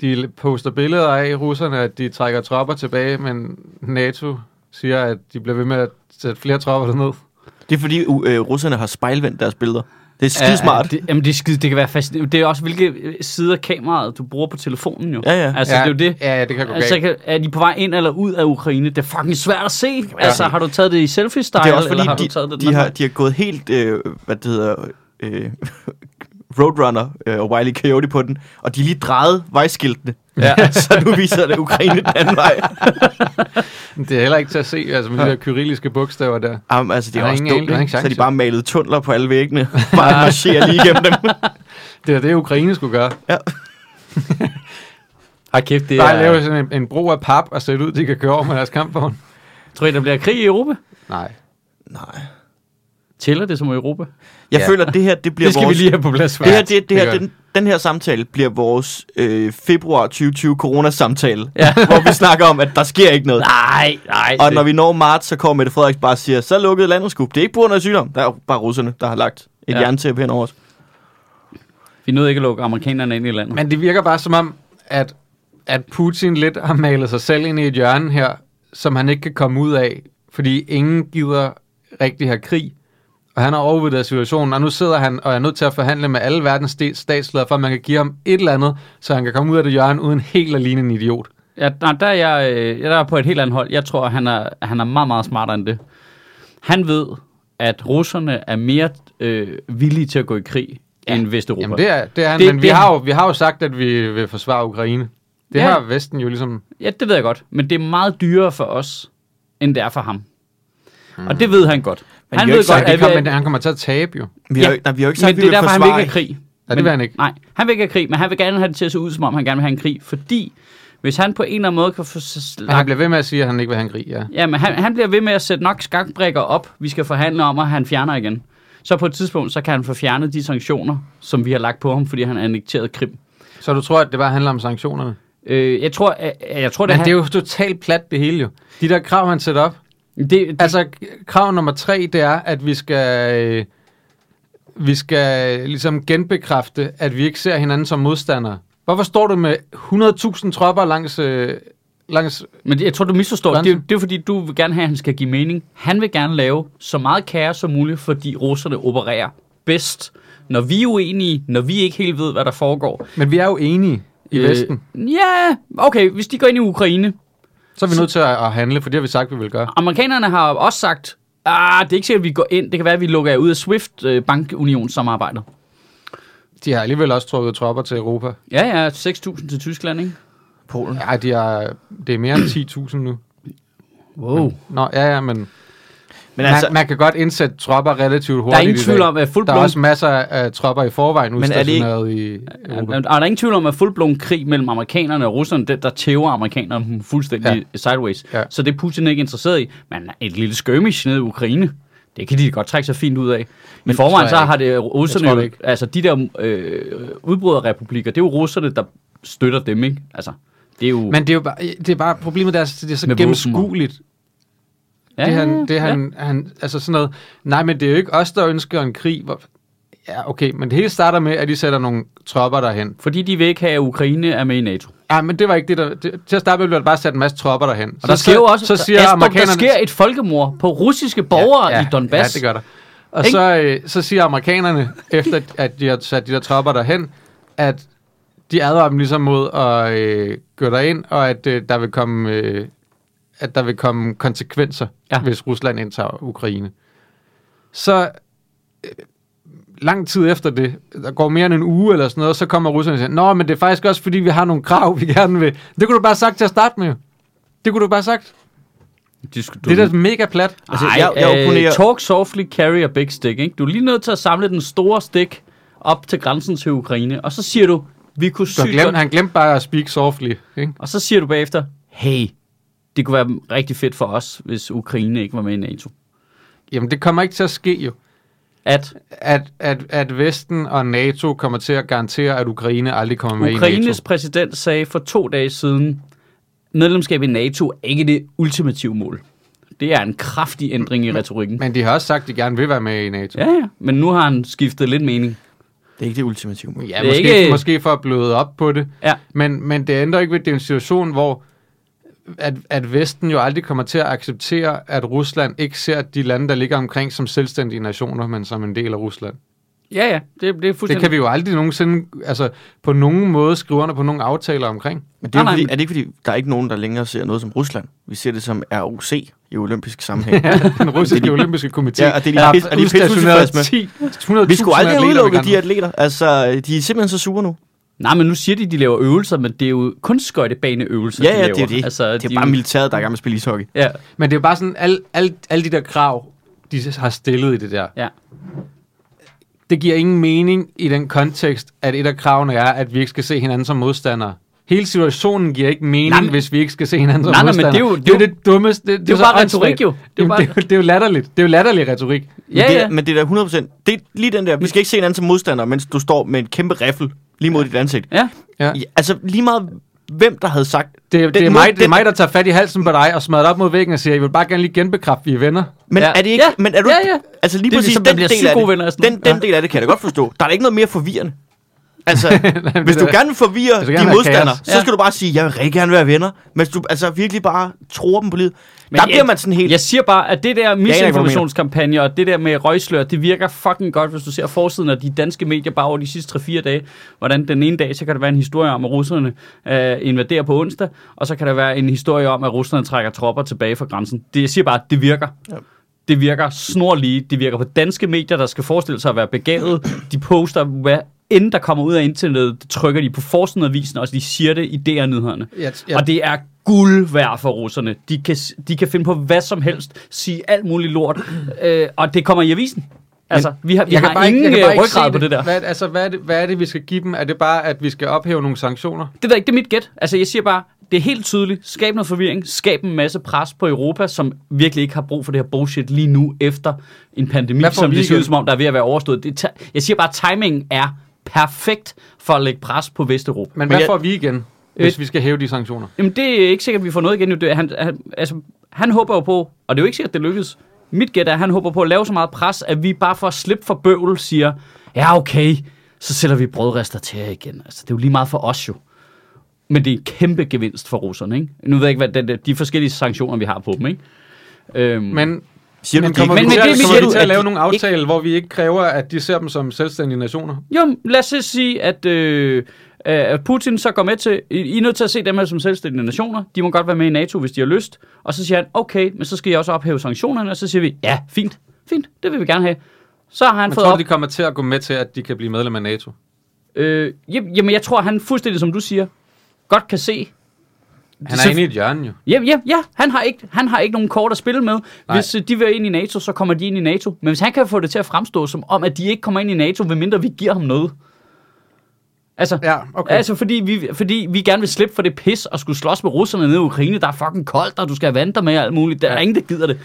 B: de poster billeder af russerne, at de trækker tropper tilbage, men NATO siger, at de bliver ved med at sætte flere tropper derned.
C: Det er fordi u- øh, russerne har spejlvendt deres billeder. Det er skidesmart.
A: Ja, det, jamen, det, er skide, det kan være fascinerende. Det er også, hvilke øh, sider af kameraet, du bruger på telefonen jo.
C: Ja, ja.
A: Altså, ja. det er jo det.
B: Ja, ja det kan gå galt.
A: Altså, kan, er de på vej ind eller ud af Ukraine? Det er fucking svært at se. Altså, har du taget det i selfie-style,
C: det er også
A: eller har
C: fordi,
A: du taget
C: de,
A: det
C: de,
A: den
C: har,
A: anden
C: de har gået helt, øh, hvad det hedder, øh, *laughs* Roadrunner øh, og Wile E. Coyote på den, og de har lige drejet vejskiltene. Ja. *laughs* så nu viser det Ukraine den anden vej.
B: Det er heller ikke til at se, altså med de der kyrilliske bogstaver der.
C: Jamen, altså, det er
B: Der er
C: også
B: ingen-
C: dumt,
B: der er
C: ikke?
B: ingen
C: Så har de
B: chance.
C: bare malet tunneler på alle væggene. Bare marcherer lige igennem dem.
B: Det er det, Ukraine skulle gøre.
A: vej? Har kæft, det
B: Bare
A: er...
B: lave sådan en, en bro af pap og sætte ud, de kan køre over med deres kampvogn.
A: Tror I, der bliver krig i Europa?
B: Nej.
C: Nej.
A: Tæller det som Europa?
C: Jeg
B: Ja.
C: ja. føler, at det her det bliver
A: Det skal
C: vores...
A: vi lige have på plads.
C: Det her,
A: hva'?
C: det, det
B: det
C: her,
B: gør
C: den, den her samtale bliver vores øh, februar 2020 coronasamtale, *laughs*
A: Ja.
C: hvor vi snakker om, at der sker ikke noget.
A: Nej, nej.
C: Og når vi når marts, så kommer Mette Frederiksen bare og siger, så lukkede landet skub. Det er ikke på grund af sygdom. Der er jo bare russerne, der har lagt et
A: Ja.
C: ja. jerntæppe hen over os.
A: Vi nåede ikke at lukke amerikanerne ind i landet.
B: Men det virker bare som om, at, at Putin lidt har malet sig selv ind i et hjørne her, som han ikke kan komme ud af, fordi ingen gider rigtig have krig. Og han har overvurderet situationen, og nu sidder han og er nødt til at forhandle med alle verdens sta- statsledere, for at man kan give ham et eller andet, så han kan komme ud af det hjørne uden helt at ligne en idiot.
A: Ja, nej, der er jeg øh, jeg er på et helt andet hold. Jeg tror, han er, han er meget, meget smartere end det. Han ved, at russerne er mere øh, villige til at gå i krig ja. end Vesteuropa.
B: Jamen det er, det er han,
A: Det-
B: det, men vi,
A: det-
B: har jo, vi har jo sagt, at vi vil forsvare Ukraine. Det
A: Ja.
B: ja. har Vesten jo ligesom...
A: Ja, det ved jeg godt. Men det er meget dyrere for os, end det er for ham. Mm. Og det ved han godt.
C: Men
A: han
C: vi har
A: ved
C: ikke sagt,
A: godt,
B: Det
A: at vi,
B: kom, men han kommer til at tabe jo.
C: Vi har, jo ikke- nej, vi har jo ikke sagt,
A: men
C: at vi
A: det er derfor,
C: vil
A: han vil
C: forsvare
A: ikke have krig.
B: det
A: Men-
B: vil han ikke.
A: Nej, han vil ikke have krig, men han vil gerne have det til at se ud, som om han gerne vil have en krig. Fordi hvis han på en eller anden måde kan få så
B: Men han
A: slagt...
B: bliver ved med at sige, at han ikke vil have en krig, ja.
A: Ja, men han, han bliver ved med at sætte nok skakbrikker op, vi skal forhandle om, og han fjerner igen. Så på et tidspunkt, så kan han få fjernet de sanktioner, som vi har lagt på ham, fordi han annekterede Krim.
B: Så du tror, at det bare handler om sanktionerne?
A: Øh, jeg tror, jeg, jeg tror det,
B: Men
A: han-
B: det er jo totalt plat det hele jo. De der krav, han sætter op.
A: det, det,
B: Altså, k- krav nummer tre, det er, at vi skal, øh, vi skal øh, ligesom genbekræfte, at vi ikke ser hinanden som modstandere. Hvorfor står du med 100.000 tropper langs, øh, langs...
A: Men det- jeg tror, du misforstår. Det,
B: Grænsen.
A: er- det er fordi, du vil gerne have, at han skal give mening. Han vil gerne lave så meget kaos som muligt, fordi russerne opererer bedst. Når vi er uenige, når vi ikke helt ved, hvad der foregår.
B: Men vi er jo enige i øh, Vesten.
A: Ja, okay, hvis de går ind i Ukraine.
B: Så er vi nødt til at, at handle, for det har vi sagt, vi vil gøre.
A: Amerikanerne har også sagt, ah, det er ikke sikkert, at vi går ind. Det kan være, at vi lukker jer ud af SWIFT, øh, bankunionssamarbejdet.
B: De har alligevel også trukket tropper til Europa.
A: Ja, ja, 6.000 til Tyskland, ikke?
C: Polen.
B: Ja, de har, det er mere end 10.000 nu.
A: Wow.
B: Nå, ja, ja, men...
C: Men altså,
B: man, man kan godt indsætte tropper relativt hurtigt
A: Der er ingen
B: i dag.
A: tvivl om, at full
B: Der er
A: blown-
B: også masser af tropper i forvejen
C: er det ikke-
B: udstationeret i Europa.
A: Er, er der ingen tvivl om, at fuldblom krig mellem amerikanerne og russerne, det, der tæver amerikanerne dem fuldstændig ja. sideways. Ja.
B: Ja.
A: Så det er Putin ikke interesseret i. Men et lille skirmish nede i Ukraine, det kan de godt trække sig fint ud af. Men I
B: tror
A: forvejen
B: jeg
A: så
B: ikke.
A: har det russerne,
B: Jeg tror det
A: jo,
B: ikke.
A: altså de der øh, udbryderrepublikker, det er jo russerne, der støtter dem, ikke? Altså, det er jo...
B: Men det er jo bare, det er bare problemet, der er, så- det er så
A: Med
B: gennemskueligt.
A: ja,
B: det
A: ja,
B: han, det
A: ja.
B: han, han, altså sådan noget, nej, men det er jo ikke os, der ønsker en krig. Hvor, ja, okay, men det hele starter med, at de sætter nogle tropper derhen.
A: Fordi de vil ikke have, at Ukraine er med i NATO.
B: Ja, men det var ikke det, der... Det, til at starte med blev der bare sat en masse tropper derhen.
A: Og der sker jo også,
B: så siger
A: Astrup, der
B: amerikanerne,
A: sker et folkemord på russiske borgere i Donbass.
B: Ja, det gør der. Og
A: Ikke?
B: så, øh, så siger amerikanerne, efter at de har sat de der tropper derhen, at de advarer dem ligesom mod at øh, gå derind, og at øh, der vil komme... Øh, at der vil komme konsekvenser,
A: Ja.
B: ja. hvis Rusland indtager Ukraine. Så øh, lang tid efter det, der går mere end en uge eller sådan noget, så kommer russerne og siger, Nå, men det er faktisk også, fordi vi har nogle krav, vi gerne vil. Det kunne du bare have sagt til at starte med. jo. Det kunne du bare have sagt.
A: De skulle-
B: Det er da mega plat.
A: Altså,
C: Altså,
A: Ej, jeg,
C: jeg- jeg
A: jeg øh,
C: opponerer-
A: Talk softly, carry a big stick. Ikke? Du er lige nødt til at samle den store stik op til grænsen til Ukraine, og så siger du, vi kunne
B: Du har
A: sygt
B: glemt,
A: godt,
B: han glemte bare at speak softly. Ikke?
A: og så siger du bagefter, hey, det kunne være rigtig fedt for os, hvis Ukraine ikke var med i NATO.
B: Jamen, det kommer ikke til at ske jo.
A: At
B: At, at, at Vesten og NATO kommer til at garantere, at Ukraine aldrig kommer med i
A: Ukraines
B: NATO.
A: præsident sagde for to dage siden, medlemskab i NATO er ikke det ultimative mål. Det er en kraftig ændring i retorikken.
B: Men de har også sagt, at de gerne vil være med i NATO.
A: Ja, ja, men nu har han skiftet lidt mening.
C: det er ikke det ultimative mål.
B: Ja,
A: Det er
B: måske,
A: ikke-
B: ikke... måske for at bløde op på det.
A: Ja.
B: Men, men det ændrer ikke ved, at det er en situation, hvor at, at Vesten jo aldrig kommer til at acceptere, at Rusland ikke ser de lande, der ligger omkring som selvstændige nationer, men som en del af Rusland.
A: Ja, ja, det, det er
B: Det
A: fuldstændig...
B: kan vi jo aldrig nogensinde, altså på nogen måde skrive under på nogen aftaler omkring.
C: Men det
A: Nej,
C: er, jo
A: nej,
C: fordi,
A: men-
C: er det ikke fordi, der er ikke nogen, der længere ser noget som Rusland? Vi ser det som ROC i olympisk *laughs* sammenhæng.
B: den russiske olympiske komité.
C: Ja, og det er de pis- og de er pisse utilfredse med.
B: med.
C: Vi skulle aldrig have udelukket de atleter. Altså, de er simpelthen så sure nu.
A: Nej, men nu siger de, de laver øvelser, men det er jo kun skøjtebaneøvelser,
C: Ja,
A: de
C: ja,
A: laver.
C: det er det. Altså, det er
A: de
C: jo bare militæret, der er i gang med at spille ishockey.
A: Ja,
B: Men det er jo bare sådan, alle al, al de der krav, de har stillet i det der.
A: ja.
B: Det giver ingen mening i den kontekst, at et af kravene er, at vi ikke skal se hinanden som modstandere. Hele situationen giver ikke mening,
A: Nej,
B: nej,
A: men-
B: hvis vi ikke skal se hinanden som
A: Nej, nej, men
B: modstander.
A: det er jo-
B: det, er jo det dummeste. Det,
A: det er jo
B: så
A: bare
B: åndssvagt.
A: retorik, jo. Det er jo
B: Jamen,
A: bare-
B: Det er jo- det er jo latterligt. Det er jo latterlig retorik.
A: Ja,
C: men, det,
A: ja.
C: men det er da 100%. Det er lige den der, vi skal ikke se hinanden som modstander, mens du står med en kæmpe riffel lige mod dit ansigt.
A: Ja.
B: Ja.
C: Ja, altså lige meget hvem, der havde sagt...
B: Det, det,
C: Den
B: er
C: mod-
B: mig, det er
C: den-
B: mig, der tager fat i halsen på dig og smadrer dig op mod væggen og siger, jeg vil bare gerne lige genbekræfte, vi er venner.
C: Men
A: Ja.
C: er det ikke...
A: Ja.
C: Men er du,
A: Ja,
C: ikke-
A: ja.
C: Altså lige
A: Det er
C: præcis
A: ligesom, man
C: den,
A: bliver
C: del af
A: psyko
C: det,
A: venner af sådan
C: den, den del af det kan jeg da godt forstå. Der er da ikke noget mere forvirrende. Altså, hvis
B: det
C: du
B: er-
C: gerne vil
B: Jeg
C: forvirre
B: skal
C: dine
B: gerne have
C: modstandere,
B: kaos.
C: så
A: Ja.
C: skal du bare sige, jeg vil rigtig gerne være venner. Mens du altså virkelig bare tror dem på livet. Men der
A: jeg-
C: bliver man sådan helt...
A: Jeg siger bare, at det der
C: du mener.
A: misinformationskampagne og det der med røgslør, det virker fucking godt, hvis du ser forsiden af de danske medier bare over de sidste 3-4 dage. Hvordan den ene dag, så kan der være en historie om, at russerne øh, invaderer på onsdag, og så kan der være en historie om, at russerne trækker tropper tilbage fra grænsen. Det, jeg siger bare, at det virker. Ja. Det virker snorlige. Det virker på danske medier, der skal forestille sig at være begavet. De poster, hvad end der kommer ud af internettet, det trykker de på forsiden af avisen, og de siger det i DR-nyhederne.
B: Jeg- jeg-
A: Og det er guld værd for russerne. De kan, de kan finde på hvad som helst, sige alt muligt lort, øh, og det kommer i avisen. Altså, vi har, vi
B: jeg kan
A: har
B: bare
A: ingen
B: ikke, jeg kan bare
A: øh,
B: ikke se
A: ryggrad på det der.
B: Hvad, altså, hvad er det, hvad er det, vi skal give dem? Er det bare, at vi skal ophæve nogle sanktioner?
A: Det ved jeg ikke, det er mit gæt. Altså, jeg siger bare, det er helt tydeligt. Skab noget forvirring. Skab en masse pres på Europa, som virkelig ikke har brug for det her bullshit lige nu efter en pandemi,
B: Hvad får
A: som
B: vi
A: det ser ud
B: igen?
A: som om, der er ved at være overstået. Det er ta- jeg siger bare, at timingen er perfekt for at lægge pres på Vesteuropa.
B: Men, hvad
C: jeg-
B: får vi igen,
A: Øh,
B: hvis vi skal hæve de sanktioner?
A: Jamen, det er ikke sikkert, at vi får noget igen. nu. Det, er- han, han, altså, han håber jo på, og det er jo ikke sikkert, det lykkes. Mit gæt er, at han håber på at lave så meget pres, at vi bare for at slippe for bøvl siger, ja okay, så sætter vi brødrester til jer igen. Altså, det er jo lige meget for os jo. Men det er en kæmpe gevinst for russerne, ikke? Nu ved jeg ikke, hvad den, der- de forskellige sanktioner, vi har på dem, ikke? Øhm, men,
B: Men
C: Siger
B: Men
C: du,
B: kommer
C: det,
B: vi
A: men
B: til,
A: det-
B: at-
A: men
B: kommer
A: siger
B: vi
A: du,
B: til at
A: at
B: lave
A: de
B: nogle aftaler, hvor vi ikke kræver, at de ser dem som selvstændige nationer?
A: jo, lad os så sige, at, øh, at Putin så går med til, I I er nødt til at se dem her som selvstændige nationer, de må godt være med i NATO, hvis de har lyst, og så siger han, okay, men så skal jeg også ophæve sanktionerne, og så siger vi, ja, fint, fint, det vil vi gerne have. Så har han
B: Men
A: fået
B: tror
A: op...
B: du, de kommer til at gå med til, at de kan blive medlem af NATO?
A: Øh, jam- jamen, jeg tror, han fuldstændig, som du siger, godt kan se.
B: Han
A: Så-
B: er inde i et hjørne, jo.
A: Ja, ja, ja. Han har, ikke, han har ikke nogen kort at spille med.
B: Nej.
A: Hvis øh, de vil ind i NATO, så kommer de ind i NATO. Men hvis han kan få det til at fremstå som om, at de ikke kommer ind i NATO, medmindre vi giver ham noget. Altså,
B: Ja, okay.
A: altså fordi, vi, fordi vi gerne vil slippe for det pis og skulle slås med russerne nede i Ukraine. Der er fucking koldt, og du skal have vand der med og alt muligt. Der er ingen, der gider det.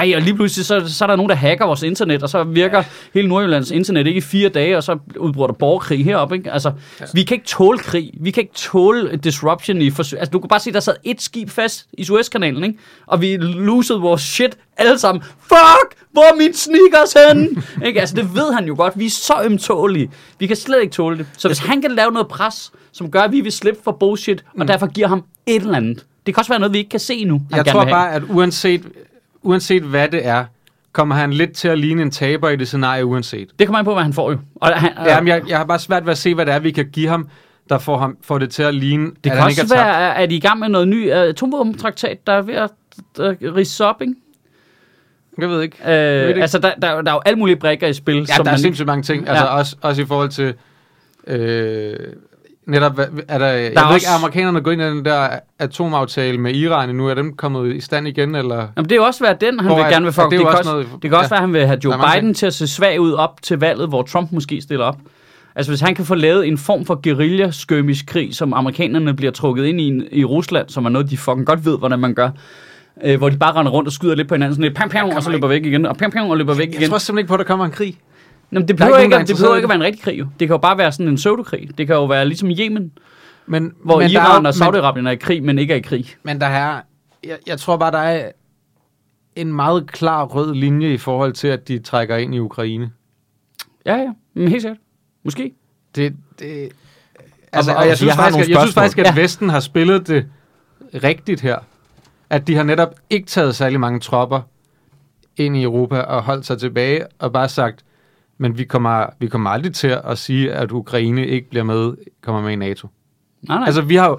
A: Ej, og lige pludselig, så, så er der nogen, der hacker vores internet, og så virker ja. hele Nordjyllands internet ikke i fire dage, og så udbryder der borgerkrig heroppe. Ikke? Altså, ja. vi kan ikke tåle krig. Vi kan ikke tåle disruption i forsøg. Altså, du kunne bare se, der sad et skib fast i Suezkanalen, ikke? Og vi losede vores shit alle sammen. Fuck! Hvor er min sneakers
B: *laughs*
A: henne? ikke? Altså, det ved han jo godt. Vi er så ømtålige. Vi kan slet ikke tåle det. Så hvis han kan lave noget pres, som gør, at vi vil slippe for bullshit, og derfor giver ham et eller andet. Det kan også være noget, vi ikke kan se nu. han
B: Mm. Jeg
A: gerne
B: tror
A: vil have.
B: bare, at uanset, uanset hvad det er, kommer han lidt til at ligne en taber i det scenarie uanset.
A: Det kommer an på, hvad han får jo. Og han,
B: Ja. Jamen, jeg, jeg har bare svært ved at se, hvad det er, vi kan give ham, der får, ham, får det til at ligne,
A: det
B: at
A: kan
B: han ikke
A: også
B: er tabt.
A: være, at I er i gang med noget ny uh, atomvåbentraktat, der er ved at uh, rise op, ikke?
B: Jeg ved ikke.
A: Øh,
B: ikke.
A: altså, der, der, der er jo alle mulige brækker i spil,
B: Ja,
A: som
B: der er
A: man...
B: sindssygt mange ting. Altså,
A: Ja.
B: også, også i forhold til... Øh, netop, hvad- er der, der
A: er
B: jeg ved ikke,
A: også-
B: er amerikanerne gået ind i den der atomaftale med Iran nu? Er dem kommet i stand igen, eller...
A: Jamen, det er jo også være den, han
B: Hvor
A: vil
B: er-
A: gerne vil
B: og
A: fuck.
B: det
A: Det,
B: er
A: det,
B: jo
A: kan,
B: også
A: også,
B: noget-
A: det kan også
B: ja.
A: være, at han vil have
B: Der
A: Joe
B: er mange
A: Biden til at se svag ud op til valget, hvor Trump måske stiller op. Altså, hvis han kan få lavet en form for guerilla-skømisk krig, som amerikanerne bliver trukket ind i en, i Rusland, som er noget, de fucking godt ved, hvordan man gør, øh, hvor de bare render rundt og skyder lidt på hinanden, sådan lidt pam, pam, og så løber væk igen, og pam, pam, og løber væk
B: Jeg
A: igen.
B: tror simpelthen ikke på, at der kommer en krig.
A: Jamen, det
B: Der er
A: behøver,
B: ikke
A: ikke,
B: nogen, der er
A: at- det behøver
B: interesseret i
A: ikke at være en rigtig krig, jo. Det kan jo bare være sådan en pseudokrig. Det kan jo være ligesom i Yemen,
B: Men,
A: hvor
B: men
A: men
B: der er-
A: Iran og
B: men-
A: Saudi-Arabien er i krig, men ikke er i krig.
B: Men der er, jeg, jeg tror bare, der er en meget klar rød linje i forhold til, at de trækker ind i Ukraine.
A: Ja, ja. Men helt sikkert. Måske.
B: Det, det, altså, og,
C: og-
B: og jeg,
C: jeg
B: synes
C: har
B: faktisk,
C: nogle
B: at, jeg synes
C: spørgsmål.
B: faktisk, at ja. Vesten har spillet det rigtigt her. At de har netop ikke taget særlig mange tropper ind i Europa og holdt sig tilbage og bare sagt, men vi kommer, vi kommer aldrig til at sige, at Ukraine ikke bliver med, kommer med i NATO.
A: Nej, nej.
B: Altså, vi har jo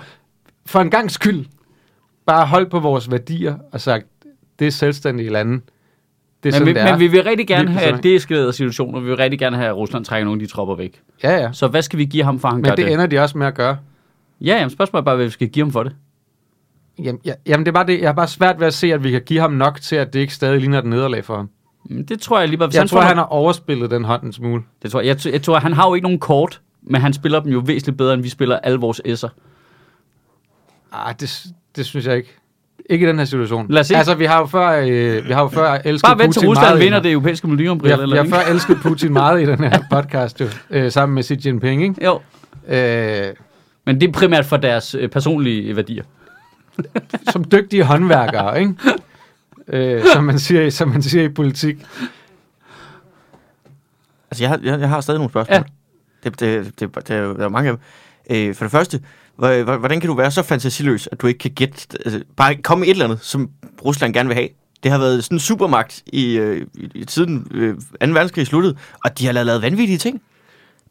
B: for en gang skyld bare holdt på vores værdier og sagt, det er selvstændige lande. Det
A: Men
B: er sådan,
A: vi,
B: det er.
A: men vi vil rigtig gerne
B: Virkelig
A: have
B: sådan.
A: deeskalerede situationer. Vi vil rigtig gerne have, at Rusland trækker nogle af de tropper væk.
B: Ja, ja.
A: Så hvad skal vi give ham for, at han
B: Men
A: gør det?
B: det ender de også med at gøre.
A: Ja, jamen, spørgsmålet er bare, hvad vi skal give ham for det.
B: Jamen, ja, jamen det er bare det. Jeg har bare svært ved at se, at vi kan give ham nok til, at det ikke stadig ligner et nederlag for ham.
A: Men Det tror jeg lige bare... hvis
B: Jeg tror,
A: får
B: han
A: nogle-
B: har overspillet den hånd en smule.
A: det tror jeg, jeg, t- jeg tror, han har jo ikke nogen kort, men han spiller dem jo væsentligt bedre, end vi spiller alle vores S'er.
B: Ah, det, det synes jeg ikke. Ikke i den her situation.
A: Lad os se.
B: Altså, vi har jo før, øh, vi har jo før elsket
A: Bare vent til
B: Putin
A: Rusland
B: meget i
A: vinder
B: den her-
A: det europæiske
B: Vi
A: miljøombrille,
B: har,
A: eller
B: vi har
A: ikke?
B: før elsket Putin meget i den her podcast, jo, øh, sammen med Xi Jinping, ikke?
A: Jo,
B: Øh,
A: men det er primært for deres øh, personlige værdier.
B: som dygtige håndværkere, ikke? Øh, som, man siger, som man siger i politik.
C: Altså, jeg har, jeg, jeg har stadig nogle spørgsmål.
A: Ja.
C: Ja. Det, det, det, det, der er jo- der er jo mange af dem. Øh, for det første, hvor- hvor- hvordan kan du være så fantasiløs, at du ikke kan gætte... Altså, bare kom med et eller andet, som Rusland gerne vil have. Det har været sådan en supermagt i, øh, i, i tiden øh, 2. verdenskrig sluttede, og de har lavet, lavet vanvittige ting.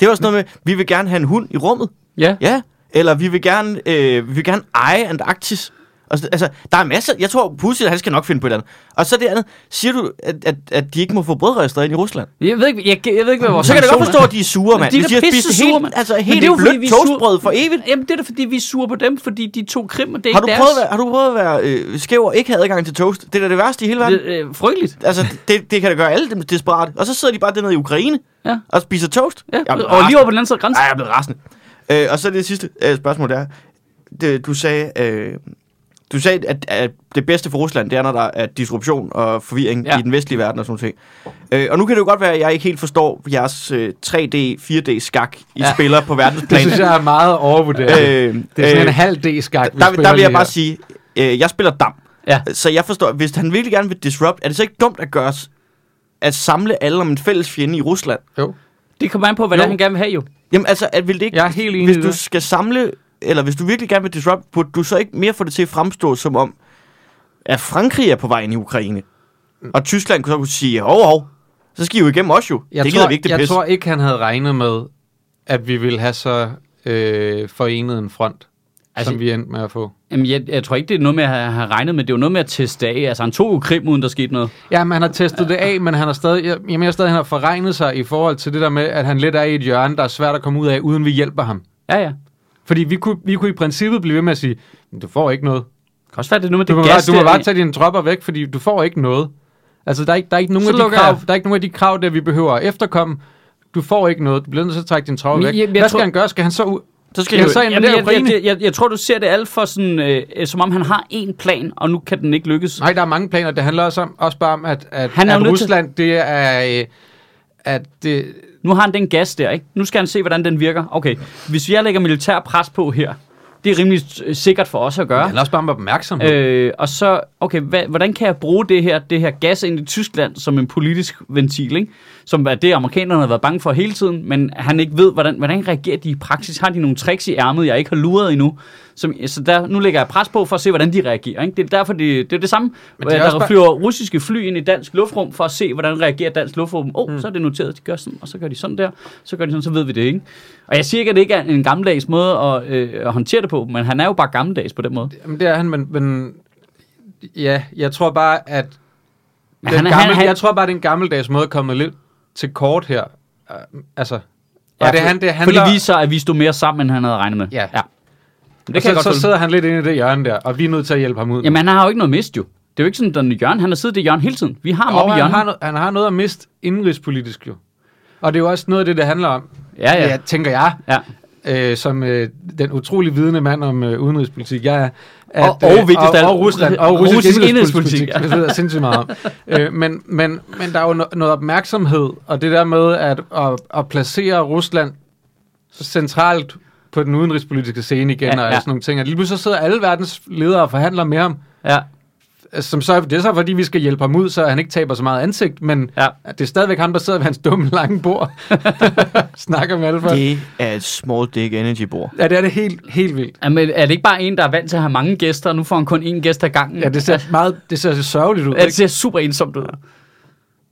C: Det var sådan noget med, vi vil gerne have en hund i rummet.
A: Ja.
C: Ja, eller vi vil gerne, øh, vi vil gerne eje Antarktis. Og så- Altså, der er masser. Jeg tror, Putin, han skal nok finde på et eller andet. Og så det andet. Siger du, at, at, at de ikke må få brødrester ind i Rusland?
A: Jeg ved ikke, jeg, jeg ved ikke hvad vores
C: Så kan jeg da godt
A: sanktioner-
C: forstå, at de er sure, mand.
A: De er
C: Hvis
A: da
C: de har
A: pisse
C: spist
A: sure,
C: helt,
A: mand.
C: altså,
A: Men
C: helt
A: det er jo, fordi
C: blødt
A: vi er sure.
C: toastbrød for evigt.
A: Jamen, det er da fordi, vi er sure på dem, fordi de to krim, og det er
C: Har du,
A: ikke
C: prøvet,
A: deres.
C: at være- har du prøvet at være øh, skæv og ikke have adgang til toast? Det er da det værste i hele verden.
A: Det, øh, frygteligt.
C: Altså, det, det kan da gøre alle dem desperat. Og så sidder de bare dernede i Ukraine
A: Ja.
C: og spiser toast.
A: Ja.
C: Jeg er blevet
A: og lige
C: rasende.
A: over på den anden side af grænsen.
C: Ej, jeg er blevet rasende. Øh, og så det sidste øh, spørgsmål, der. Det, du sagde, øh, du sagde at, at det bedste for Rusland, det er, når der er disruption og forvirring
A: Ja.
C: ja. i den vestlige verden og sådan noget. Øh, og nu kan det jo godt være, at jeg ikke helt forstår jeres øh, 3D, 4D-skak, I
A: Ja.
C: ja. spiller på verdensplan.
B: *laughs* Det synes jeg er meget overvurderet. Øh,
C: Øh,
B: det er sådan øh, en
C: øh,
B: halv D-skak, vi
C: der,
B: spiller
C: der vil
B: lige
C: jeg bare
B: her.
C: sige, øh, jeg spiller dam.
A: Ja.
C: Så jeg forstår, hvis han virkelig gerne vil disrupt, er det så ikke dumt at gøre os, at samle alle om en fælles fjende i Rusland?
B: Jo.
A: Det kommer an på, hvad det er,
B: Jo.
A: han gerne vil have, jo.
C: Jamen altså, at vil det ikke,
B: Jeg er helt enig
C: hvis
B: i
C: du
B: det.
C: skal samle, eller hvis du virkelig gerne vil disrupt, burde du så ikke mere få det til at fremstå som om, at Frankrig er på vej ind i Ukraine?
B: Mm.
C: Og Tyskland kunne så kunne sige, hov, hov, så skal I jo igennem os jo.
B: Jeg,
C: det gider
B: tror,
C: vi ikke, det
B: jeg
C: pis.
B: tror ikke, han havde regnet med, at vi ville have så øh, forenet en front, altså,
A: Altså-
B: som vi endte med at få.
A: Jamen, jeg, jeg tror ikke, det er noget med at have have regnet med. Det er jo noget med at teste af. Altså, han tog jo krim, uden der skete noget.
B: Ja, men han har testet det af, men han har stadig, jeg, jeg mener stadig, han har forregnet sig i forhold til det der med, at han lidt er i et hjørne, der er svært at komme ud af, uden vi hjælper ham.
A: Ja, ja. Det
B: Fordi vi kunne, vi kunne i princippet blive ved med at sige, "Men du får ikke noget.
A: kan også være, det er noget
B: Du,
A: med
B: må
A: det
B: bare,
A: gas.
B: du må
A: der-
B: bare tage dine tropper væk, fordi du får ikke noget. Altså, der er ikke, der er ikke, nogen,
A: Så
B: af de
A: lukker
B: krav,
A: jeg.
B: der er ikke nogen af de krav, der vi behøver at efterkomme. Du får ikke noget. Du bliver nødt til at trække dine tropper
A: Men
B: væk.
A: jeg- jeg
B: Hvad skal
A: tror-
B: han gøre? Skal han så ud?
C: Så skal
B: Jeg
C: jeg
B: så-
C: jo...
B: Jamen,
A: Jamen,
B: det er
A: jeg, jeg,
B: Ukraine.
A: jeg, jeg, jeg tror, du ser det alt for sådan, øh, øh, som om han har én plan, og nu kan den ikke lykkes.
B: Nej, der er mange planer. Det handler også, om, også bare om, at, at,
A: Han er jo
B: at
A: nødt til-
B: Rusland, det er... øh, At det,
A: Nu har han den gas der, ikke? Nu skal han se, hvordan den virker. Okay, hvis jeg lægger militær pres på her, det er rimelig øh, sikkert for os at gøre.
B: han er også bare med opmærksomhed.
A: Øh, og så, okay, hva, hvordan kan jeg bruge det her, det her gas ind i Tyskland som en politisk ventil, ikke? Som er det, amerikanerne har været bange for hele tiden, men han ikke ved, hvordan, hvordan reagerer de i praksis? Har de nogle tricks i ærmet, jeg ikke har luret endnu? Som, så der, nu lægger jeg pres på for at se, hvordan de reagerer, ikke? Det er derfor, det, det er det samme.
B: Men
A: Men
B: det er
A: det
B: også
A: der
B: bare-
A: flyver russiske fly ind i dansk luftrum for at se, hvordan reagerer dansk luftrum. Åh, oh,
B: Mm.
A: så er det noteret, at de gør sådan, og så gør de sådan der, så gør de sådan, så ved vi det, ikke? Og jeg siger ikke, at det ikke er en gammeldags måde at, øh, at håndtere det på, men han er jo bare gammeldags på den måde.
B: Øh, Jamen, det er han, men, men ja, jeg tror bare, at
A: Men
B: den
A: han er-
B: gamle,
A: han- han-
B: jeg tror bare, at den gammeldags måde er kommet lidt til kort her. Øh, Altså, ja, og det, er han, det handler,
A: Fordi det viser, at vi stod mere sammen, end han havde regnet med.
B: Ja.
A: ja. Men det kan jeg
B: og så,
A: godt
B: så
A: så,
B: sidder han lidt inde i det hjørne der, og vi er nødt til at hjælpe ham ud. nu.
A: Jamen, han har jo ikke noget mist, jo. Det er jo ikke sådan, at Jørgen, han har siddet i Jørgen hele tiden. Vi har ham oppe
B: og
A: i
B: han,
A: hjørnet.
B: har, no- han har noget at miste indenrigspolitisk jo. Og det er jo også noget af det, det handler om,
A: Ja, ja.
B: jeg, tænker jeg,
A: ja.
B: øh, som øh, den utrolig vidende mand om øh, udenrigspolitik, jeg er. øh,
A: Og- og vigtigst af
B: og,
A: alt,
B: og Rusland, og
A: russisk
B: russisk, russisk
A: indrigspolitik,
B: indrigspolitik. Ja. Det ved *laughs* jeg sindssygt meget om. Øh, men, men, men der er jo no- noget opmærksomhed, og det der med at, at, at placere Rusland centralt på den udenrigspolitiske scene igen, ja,
A: Ja,
B: og
A: ja.
B: sådan nogle ting. Og lige pludselig så sidder alle verdens ledere og forhandler med ham. Øh,
A: ja.
B: Som så, det er så, fordi vi skal hjælpe ham ud, så han ikke taber så meget ansigt, men
A: Ja.
B: det er stadigvæk ham, der sidder ved hans dumme lange bord. *laughs* Snakker med alle folk.
C: Det er et small dick energy bord.
B: Ja, det er det helt, helt vildt.
A: ja. men er det ikke bare en, der er vant til at have mange gæster, og nu får han kun én gæst ad gangen?
B: Ja, det ser meget, det ser så sørgeligt ud.
A: Ja, det
B: Ikke?
A: ser super ensomt ud.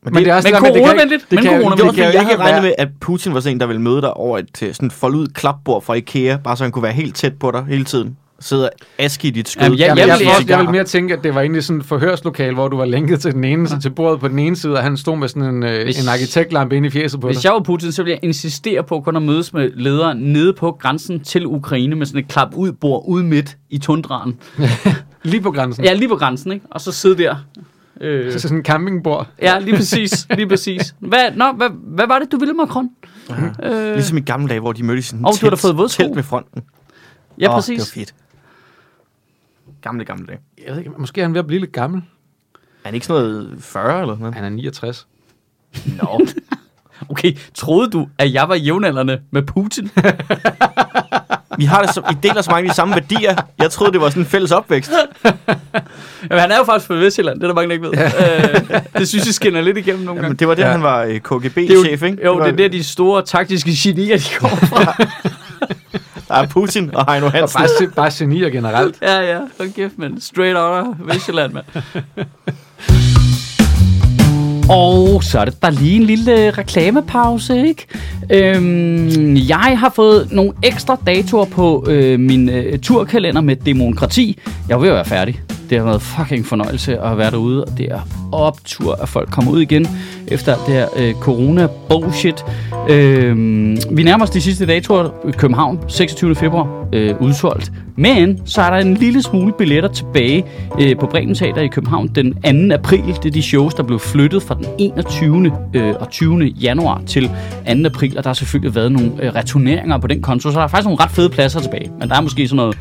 B: Men det er også
A: men
B: det der med, det kan ikke-
A: coronavenligt,
B: det
A: men
B: kan jo-
C: Det var
A: coronavenligt.
B: det
C: fordi,
B: kan jo
C: jeg havde
B: ikke være-
C: regnet med, at Putin var sådan en, der ville møde dig over et øh, sådan forlyd klapbord fra Ikea, bare så han kunne være helt tæt på dig hele tiden. Sidder aske i dit skød.
A: Jamen, jeg-
B: Jeg,
A: jeg
B: jeg,
A: vil-
B: jeg, jeg,
A: jeg-
B: jeg vil mere tænke, at det var egentlig sådan et forhørslokal, hvor du var lænket til, den ene, til bordet på den ene side, og han stod med sådan en, øh,
A: Hvis-
B: en arkitektlampe inde i fjeset på dig.
A: Hvis jeg var Putin, så ville jeg insistere på kun at mødes med ledere nede på grænsen til Ukraine med sådan et klap ud bord ude midt i tundraen.
B: Lige på grænsen.
A: Ja, lige på grænsen, ikke? Og så sidde der. Øh,
B: Så sådan en campingbord.
A: Ja, lige præcis. Lige præcis. Hvad, nå, hvad, hvad var det, du ville, Macron? Øh,
C: Ligesom i gamle dage, hvor de mødtes i sådan
A: Og du har da fået vådsko.
C: telt med fronten.
A: ja,
C: Åh,
A: præcis.
C: Det var fedt. Gamle, gamle dage.
B: Jeg ved ikke, måske er han ved at blive lidt gammel.
C: Er han ikke sådan noget 40 eller sådan noget?
B: Han er 69.
A: Nå. Okay, troede du, at jeg var jævnaldrende med Putin?
C: Vi har det så, I deler så mange af de samme værdier. Jeg troede, det var sådan en fælles
A: *laughs*
C: opvækst.
A: Jamen, han er jo faktisk fra Vestjylland, det er der mange, der ikke ved. øh, det synes jeg skinner lidt igennem nogle gange.
C: Jamen, det var det,
B: Ja.
C: ja. han var øh,
A: Det er
C: KGB-chef, ikke?
A: jo,
C: var,
A: det er der, de store taktiske genier, de kommer
C: *laughs*
A: fra.
C: Der er ah, Putin og
A: *laughs*
C: Heino
B: Og
C: Hansen.
B: bare, se- bare genier generelt.
A: ja, ja, hold kæft, mand. Straight out of Vestjylland, mand. Og så er det bare lige en lille øh, reklamepause, ikke? Øhm, jeg har fået nogle ekstra datoer på øh, min øh, turkalender med demokrati. Jeg er ved at være færdig. Det har været fucking fornøjelse at være derude, og det er optur, at folk kommer ud igen efter alt det her øh, corona-bullshit. Øhm, vi nærmer os de sidste datoer. København, 26. februar, øh, udsolgt. Men så er der en lille smule billetter tilbage øh, på Bremen Teater i København den 2. april. Det er de shows, der blev flyttet fra den 21. Øh, og 20. januar til 2. april, og der har selvfølgelig været nogle øh, returneringer på den konto, så der er faktisk nogle ret fede pladser tilbage. Men der er måske sådan noget,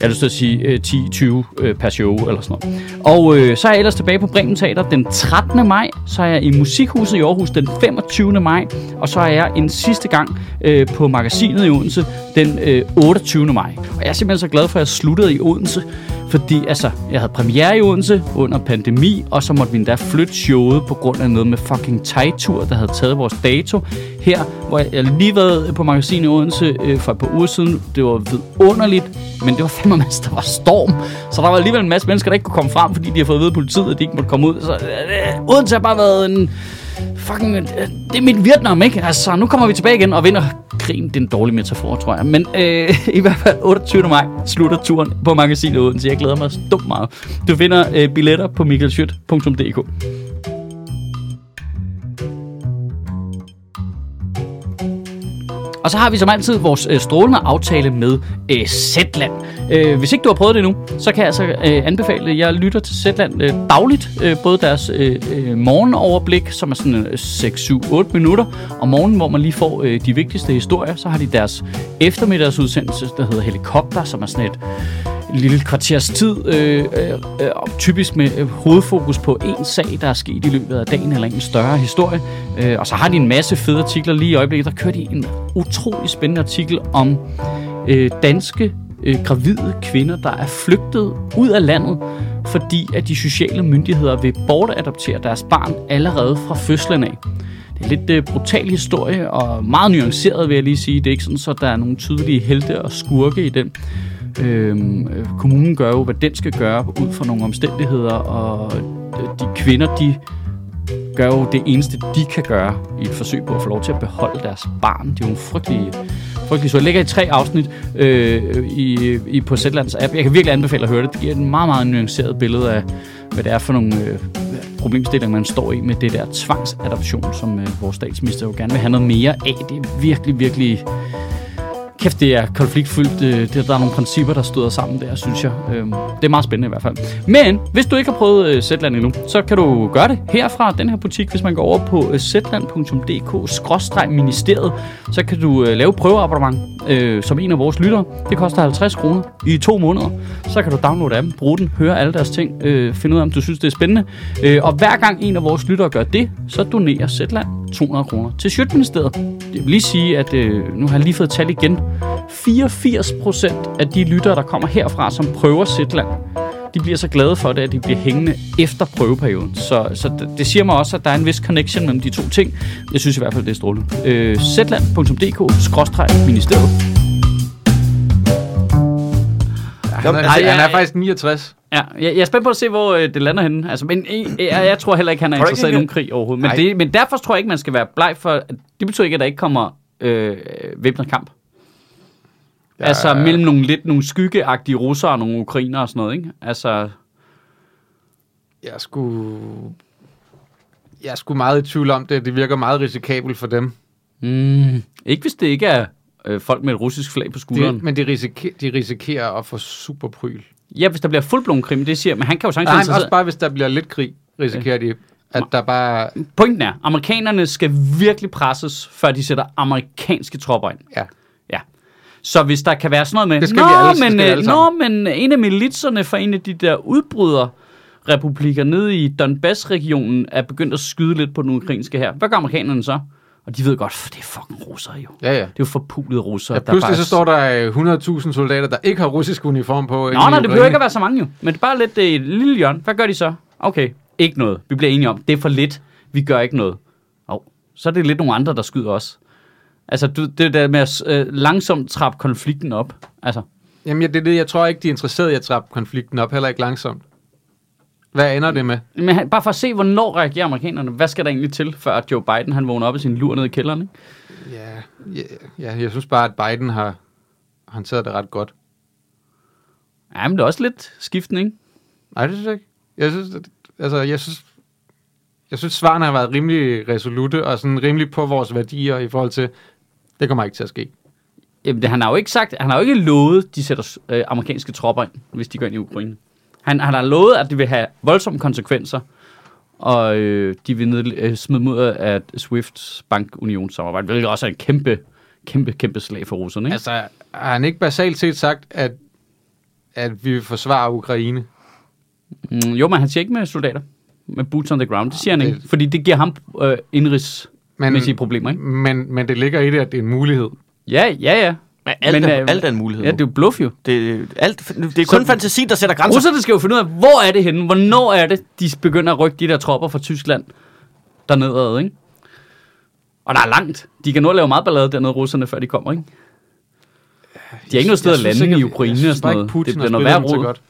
A: jeg har lyst til at sige, øh, 10-20 øh, per show eller sådan noget. Og øh, så er jeg ellers tilbage på Bremen Teater den 13. maj, så er jeg i Musikhuset i Aarhus den 25. maj, og så er jeg en sidste gang øh, på magasinet i Odense den øh, 28. maj. Og jeg er simpelthen så glad for, at jeg sluttede i Odense, fordi altså, jeg havde premiere i Odense under pandemi, og så måtte vi endda flytte showet på grund af noget med fucking Tejtur, der havde taget vores dato. Her, hvor jeg, jeg lige været på magasinet i Odense øh, for et par uger siden, det var vidunderligt, men det var fandme *laughs* masse, der var storm. Så der var alligevel en masse mennesker, der ikke kunne komme frem, fordi de har fået at vide af politiet, at de ikke måtte komme ud. Så øh, Odense har bare været en fucking, øh, det er mit Vietnam, ikke? Altså, nu kommer vi tilbage igen og vinder krigen. Det er en dårlig metafor, tror jeg. Men øh, *laughs* i hvert fald 28. maj slutter turen på magasinet Odense. Jeg glæder mig dumt meget. Du finder øh, billetter på michaelschyt.dk. Og så har vi som altid vores øh, strålende aftale med øh, Zetland. Øh, hvis ikke du har prøvet det endnu, så kan jeg altså øh, anbefale, at jeg lytter til Zetland øh, dagligt. Øh, både deres øh, øh, morgenoverblik, som er sådan øh, 6-7-8 minutter, om morgenen, hvor man lige får øh, de vigtigste historier. Så har de deres eftermiddagsudsendelse, der hedder Helikopter, som er sådan et lille kvarters tid, øh, øh, øh, typisk med øh, hovedfokus på en sag, der er sket i løbet af dagen, eller en større historie. Øh, og så har de en masse fede artikler lige i øjeblikket. Der kører de en utrolig spændende artikel om øh, danske øh, gravide kvinder, der er flygtet ud af landet, fordi at de sociale myndigheder vil bortadoptere deres barn allerede fra fødslen af. Det er en lidt øh, brutal historie, og meget nuanceret vil jeg lige sige. Det er ikke sådan, så der er nogle tydelige helte og skurke i den. Øhm, øh, kommunen gør jo, hvad den skal gøre, ud fra nogle omstændigheder, og øh, de kvinder, de gør jo det eneste, de kan gøre i et forsøg på at få lov til at beholde deres barn. Det er jo en frygtelig, frygtelig så. Jeg ligger i tre afsnit øh, i, i, på Zetlands app. Jeg kan virkelig anbefale at høre det. Det giver et meget, meget nuanceret billede af, hvad det er for nogle øh, problemstillinger, man står i med det der tvangsadoption, som øh, vores statsminister jo gerne vil have noget mere af. Det er virkelig, virkelig... Kæft, det er konfliktfyldt. Øh, det- Der er nogle principper, der støder sammen der, synes jeg. Øhm, Det er meget spændende i hvert fald. Men hvis du ikke har prøvet øh, Zetland endnu, så kan du gøre det herfra, den her butik. Hvis man går over på øh, zetland.dk-ministeriet, så kan du øh, lave prøveabonnement øh, som en af vores lyttere. Det koster 50 kroner i to måneder. Så kan du downloade appen, bruge den, høre alle deres ting, øh, finde ud af, om du synes, det er spændende. Øh, Og hver gang en af vores lyttere gør det, så donerer Zetland 200 kroner til Sjøtministeriet. Jeg vil lige sige, at øh, nu har jeg lige fået tal igen. 84 procent af de lyttere, der kommer herfra, som prøver Zetland, de bliver så glade for det, at de bliver hængende efter prøveperioden. Så, så det, det siger mig også, at der er en vis connection mellem de to ting. Jeg synes i hvert fald, det er strålende. Øh, Zetland.dk-ministeriet.
B: Han er,
A: altså,
B: han
A: jeg-
B: er faktisk 69.
A: Ja, jeg, jeg er spændt på at se, hvor øh, det lander henne. Altså, men øh, jeg, jeg tror heller ikke, han er
C: Tror du
A: interesseret i
C: ikke,
A: nogen krig overhovedet. Men,
C: Nej.
A: det, men derfor tror jeg ikke, man skal være bleg for... Det betyder ikke, at der ikke kommer øh, væbnet kamp. Ja, altså mellem nogle lidt nogle skyggeagtige russere og nogle ukrainer og sådan noget, ikke? Altså,
B: Jeg skulle... Jeg er sgu meget i tvivl om det. Det virker meget risikabelt for dem.
A: mm, ikke hvis det ikke er øh, folk med et russisk flag på skulderen.
B: De,
A: Det,
B: men de risikerer, de risikerer at få superpryl.
A: ja, hvis der bliver fuldblom krim, det siger... Men han kan jo sagtens...
B: Nej,
A: være
B: men også
A: interesseret-
B: bare, hvis der bliver lidt krig, risikerer de, at der bare...
A: Pointen er, amerikanerne skal virkelig presses, før de sætter amerikanske tropper ind.
B: Ja.
A: Ja. Så hvis der kan være sådan noget med,
B: Det skal
A: nå,
B: vi alle- det skal
A: men,
B: vi
A: øh,
B: alle
A: nå,
B: sammen."
A: men en af militserne fra en af de der udbryder republikker nede i Donbass-regionen er begyndt at skyde lidt på den ukrainske her. Hvad gør amerikanerne så? Og de ved godt, for det er fucking russere jo.
B: Ja, ja.
A: Det er jo forpulede russere.
B: Ja,
A: der
B: pludselig
A: bare-
B: så står der øh, 100.000 soldater, der ikke har russisk uniform på.
A: Nå, nej, det behøver ikke at være så mange jo. Men det er bare lidt øh, et lille hjørne. Hvad gør de så? Okay, ikke noget. Vi bliver enige om, det er for lidt. Vi gør ikke noget. Og så er det lidt nogle andre, der skyder os. Altså, du, det der med at øh, langsomt trappe konflikten op. Altså,
B: Jamen, ja, det er det, jeg tror ikke, de er interesseret i at trappe konflikten op, heller ikke langsomt. Hvad ender det med?
A: men han, bare for at se, hvornår reagerer amerikanerne. Hvad skal der egentlig til, før Joe Biden han vågner op i sin lur nede i kælderen? Ikke?
B: Ja, ja, ja, jeg synes bare, at Biden har håndteret det ret godt.
A: Ja, men det er også lidt skiftende, ikke?
B: Nej, det synes jeg ikke. Jeg synes, at, altså, jeg synes, jeg synes, svarene har været rimelig resolute og sådan rimelig på vores værdier i forhold til, det kommer ikke til at ske.
A: Jamen, det, han har jo ikke sagt, han har jo ikke lovet, de sætter øh, amerikanske tropper ind, hvis de går ind i Ukraine. Han, han har lovet, at det vil have voldsomme konsekvenser, og øh, de vil ned, øh, smide dem ud af Swifts bankunionssamarbejde, hvilket også er en kæmpe, kæmpe, kæmpe slag for russerne. Ikke? Altså,
B: Altså, har han ikke basalt set sagt, at, at vi vil forsvare Ukraine?
A: mm, jo, men han siger ikke med soldater, med boots on the ground, det siger han
B: Det-
A: ikke, fordi det giver ham øh, indrigsmæssige
B: Men-
A: problemer, ikke?
B: Men, men det ligger i det, at det er en mulighed.
A: Ja, ja, ja.
C: Men alt,
A: Men,
C: er,
A: øh,
C: alt er en mulighed.
A: Ja, det er jo bluff jo.
C: Det, alt, det er kun
A: Så-
C: fantasi, der sætter grænser.
A: Russerne skal jo finde ud af, hvor er det henne? Hvornår er det, de begynder at rykke de der tropper fra Tyskland dernedad, ikke? Og der er langt. De kan nå at lave meget ballade dernede, russerne, før de kommer, ikke? De har ikke noget sted
B: Jeg
A: at
B: synes
A: lande
B: ikke,
A: i
B: at-
A: Ukraine og
B: jeg synes bare
A: sådan noget.
B: ikke, Putin
A: det bliver
B: har
A: noget værre rod.
B: spillet dem så godt.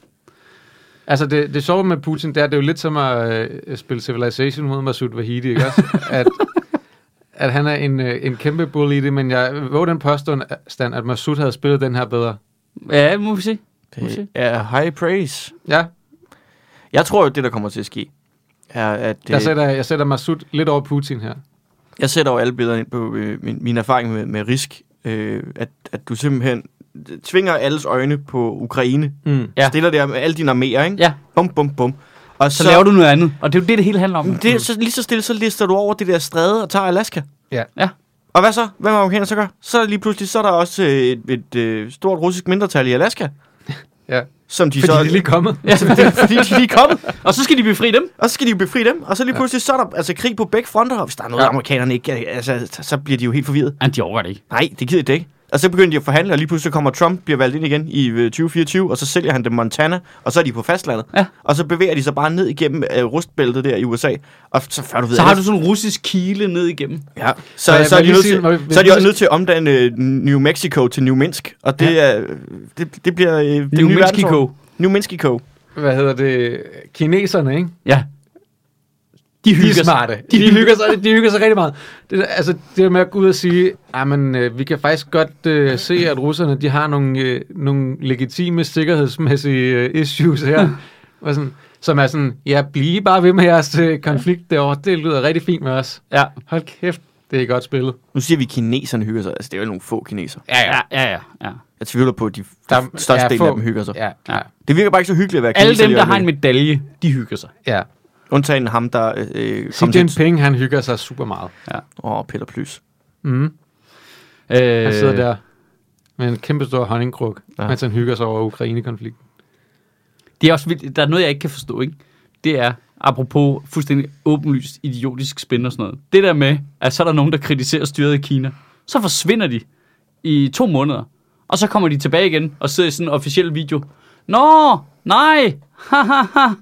B: Altså, det, det sjove med Putin, det er, det er jo lidt som at øh, spille Civilization mod Masoud Vahidi, ikke også?
A: *laughs*
B: At, at han er en, øh, en kæmpe bull i det, men jeg våger den påstand, at Masoud havde spillet den her bedre.
A: Ja, må vi se. Må vi se.
C: Det er high praise.
B: Ja,
C: Jeg tror jo, det der kommer til at ske, er, at
B: jeg
C: øh,
B: sætter, jeg sætter Masoud lidt over Putin her.
C: jeg sætter jo alle billeder ind på øh, min, min erfaring med, med risk, øh, at, at du simpelthen tvinger alles øjne på Ukraine.
B: Mm.
A: Ja.
C: Ja. Stiller der med alle dine arméer, ikke?
A: Ja,
C: Bum, bum, bum. Og
A: så, laver du Mm. noget andet. Og det er jo det, det hele handler om.
C: Men Det, så lige så stille, så lister du over det der stræde og tager Alaska.
B: Ja.
A: Ja.
C: Og hvad så? Hvad må amerikanerne så gøre? Så er der lige pludselig, så er der også øh, et, et, øh, stort russisk mindretal i Alaska.
B: Ja.
C: Som de
B: Fordi
C: så,
B: det er lige kommet.
A: *laughs* Ja, *laughs*
C: *laughs* fordi de er lige er kommet.
A: og så skal de befri dem.
C: Og så skal de jo befri dem. Og så lige pludselig, så er der altså, krig på begge fronter. Og hvis der er noget,
A: Ja.
C: ja. amerikanerne ikke... Altså, så bliver de jo helt forvirret.
A: Nej, de overgår det ikke.
C: Nej, det gider de ikke. Og så begynder de at forhandle, og lige pludselig kommer Trump, bliver valgt ind igen i øh, 2024, og så sælger han dem Montana, og så er de på fastlandet.
A: Ja.
C: Og så bevæger de sig bare ned igennem øh, rustbæltet der i USA, og så før du ved
A: Så har
C: af
A: du
C: det-
A: sådan en russisk kile ned igennem.
C: Ja,
B: Må
C: så,
B: jeg-
C: så,
B: må jeg
C: er de
B: lige
C: nødt
B: sige-
C: til,
B: må jeg-
C: så er de
B: må
C: også
B: jeg-
C: nødt til at omdanne øh, New Mexico til New Minsk, og det, ja. er, det, det bliver... Øh, det
A: New
C: nye
A: Mexico.
C: verdensorden. New Mexico.
B: Hvad hedder det? Kineserne, ikke?
A: Ja. De
B: De
A: hygger
B: er
A: sig.
B: smarte. De, de, hygger sig, de hygger sig rigtig meget. Det, der- altså, det der med at gå ud og sige, men øh, vi kan faktisk godt øh, se, at russerne de har nogle, øh, nogle legitime sikkerhedsmæssige øh, issues
C: *laughs*
B: her. og sådan, som er sådan, ja, bliv bare ved med jeres øh, konflikt derovre. Det lyder rigtig fint med os.
A: Ja.
B: Hold kæft, det er godt spillet.
C: Nu siger vi, at kineserne hygger sig. Altså, det er jo nogle få kineser.
A: Ja, ja, ja, ja. ja.
C: Jeg tvivler på, at de, de største del af dem hygger sig.
B: Ja, ja,
C: Det virker bare ikke så hyggeligt at være
A: Alle
C: kineser
A: dem,
C: i
A: der har en
C: øjeblikket.
A: medalje, de hygger sig.
B: ja.
C: Undtagen ham, der øh, øh,
B: Xi
C: kom til...
B: Jinping, han hygger sig super meget.
C: Åh, oh, Peter Plys.
B: Mm.
A: Øh,
B: Han sidder der med en kæmpe stor honningkruk,
C: Ja.
B: ja. mens han hygger sig over Ukraine-konflikten.
C: *laughs*
A: Det er også vildt. Der er noget, jeg ikke kan forstå, ikke? Det er, apropos fuldstændig åbenlyst idiotisk spin og sådan noget. Det der med, at så er der nogen, der kritiserer styret i Kina. Så forsvinder de i to måneder. Og så kommer de tilbage igen og sidder i sådan en officiel video. Nå, nej, hahaha.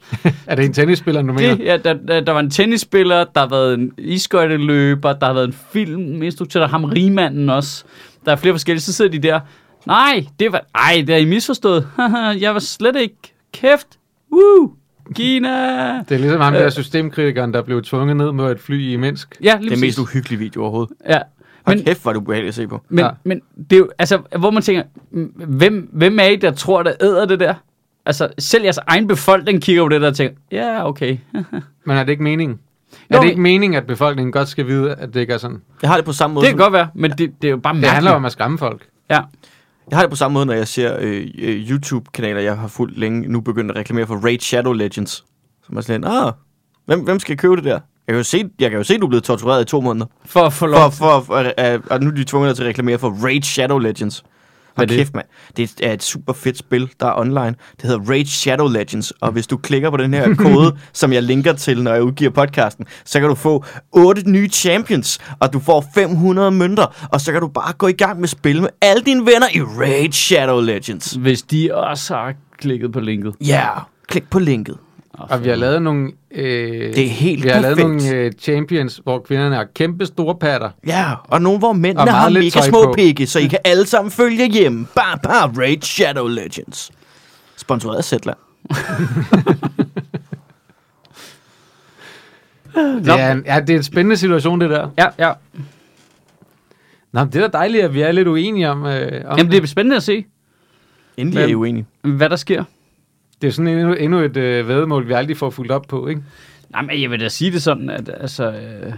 B: Er det en tennisspiller, du mener?
A: Det, ja, der, der, der var en tennisspiller, der har været en isskøjteløber, der har været en filminstruktør, der er ham rigmanden også. Der er flere forskellige, så sidder de der. Nej, det var... Ej, det er I misforstået. *laughs* Haha, jeg var slet ikke... Kæft! Woo! Kina!
B: Det er ligesom ham der systemkritikeren, der blev tvunget ned mod et fly i Minsk.
A: Ja, lige
C: Det er
A: præcis.
C: mest uhyggelige video overhovedet.
A: Ja.
C: Hold
A: Men,
C: men, kæft, hvor er det ubehageligt at se på.
A: men,
B: Ja.
A: men det er jo, altså, hvor man tænker, m- hvem, hvem er I, der tror, der æder det der? Altså, selv jeres egen befolkning kigger på det der og tænker, ja, yeah, okay.
B: Men er det ikke meningen?
A: Jo,
B: er det
A: men-
B: ikke meningen, at befolkningen godt skal vide, at det ikke er sådan?
C: Jeg har det på samme måde,
A: Det kan
C: som-
A: godt være, men det, det er jo bare
B: Det
A: mærkeligt.
B: handler om at skræmme folk.
A: Ja.
C: Jeg har det på samme måde, når jeg ser øh, øh, YouTube-kanaler, jeg har fulgt længe, nu begyndt at reklamere for Raid Shadow Legends. Som er sådan lidt, ah, hvem, hvem skal købe det der? Jeg kan jo se, jeg kan jo se du er blevet tortureret i to måneder.
A: For at få lov
C: For, for, for, øh, øh, og nu er de tvunget til at reklamere for Raid Shadow Legends. Og
A: det?
C: kæft, mand. Det er et super fedt spil, der er online. Det hedder Rage Shadow Legends. Og hvis du klikker på den *laughs* her kode, som jeg linker til, når jeg udgiver podcasten, så kan du få 8 nye champions, og du får 500 mønter. Og så kan du bare gå i gang med spil med alle dine venner i Rage Shadow Legends.
A: Hvis de også har klikket på linket.
C: Ja, yeah. klik på linket.
B: Og vi har lavet nogle... Øh,
C: Det er helt
B: Vi har lavet
C: perfekt.
B: nogle øh, champions, hvor kvinderne har kæmpe store patter.
C: Ja, og nogen, hvor
B: Og
C: mændene
B: meget
C: har
B: lidt
C: mega
B: tøj
C: små
B: på.
C: pikke, så I kan alle sammen følge hjemme. Bare, bare Raid Shadow Legends. Sponsoreret af Zetland.
B: Det er, en- ja, det er en spændende situation, det der.
A: Ja, ja.
B: Nå, men det er da dejligt, at vi er lidt uenige om... Øh, om
A: Jamen, det er spændende at se,
C: Endelig er
A: Men-
C: I uenige.
A: hvad der sker.
B: det er sådan endnu, endnu et øh, vedmål, vi aldrig får fuldt op på, ikke? *laughs*
A: Nej, men jeg vil da sige det sådan, at altså, øh,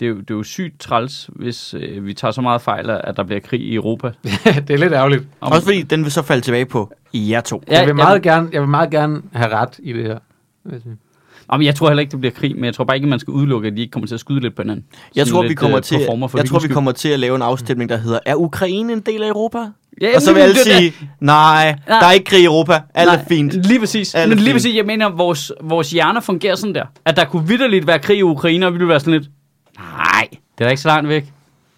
A: det, er jo, det er jo sygt træls, hvis øh, vi tager så meget fejl, af, at der bliver krig i Europa.
B: det er lidt ærgerligt.
A: Om-
C: Også fordi den vil så falde tilbage på jer to.
A: Ja,
B: jeg, vil
A: jamen-
B: meget gerne, jeg vil meget gerne have ret i det her.
A: Jamen, jeg tror heller ikke, det bliver krig, men jeg tror bare ikke, man skal udelukke, at de ikke kommer til at skyde lidt på hinanden.
C: Jeg
A: Sådan
C: tror,
A: lidt,
C: vi kommer
A: øh,
C: til,
A: performer for
C: jeg tror, vi
A: hyggens
C: kommer til at lave en afstemning, der hedder, er Ukraine en del af Europa?
A: Ja,
C: og så vil
A: men
C: alle
A: det er
C: sige, nej, der er ikke krig i Europa. Alt er
A: Nej,
C: fint.
A: Lige præcis.
C: Alt er
A: Alt men lige
C: fint.
A: præcis, jeg mener, at vores, vores hjerner fungerer sådan der. At der kunne vidderligt være krig i Ukraine, og vi ville være sådan lidt, nej, det er da ikke så langt væk.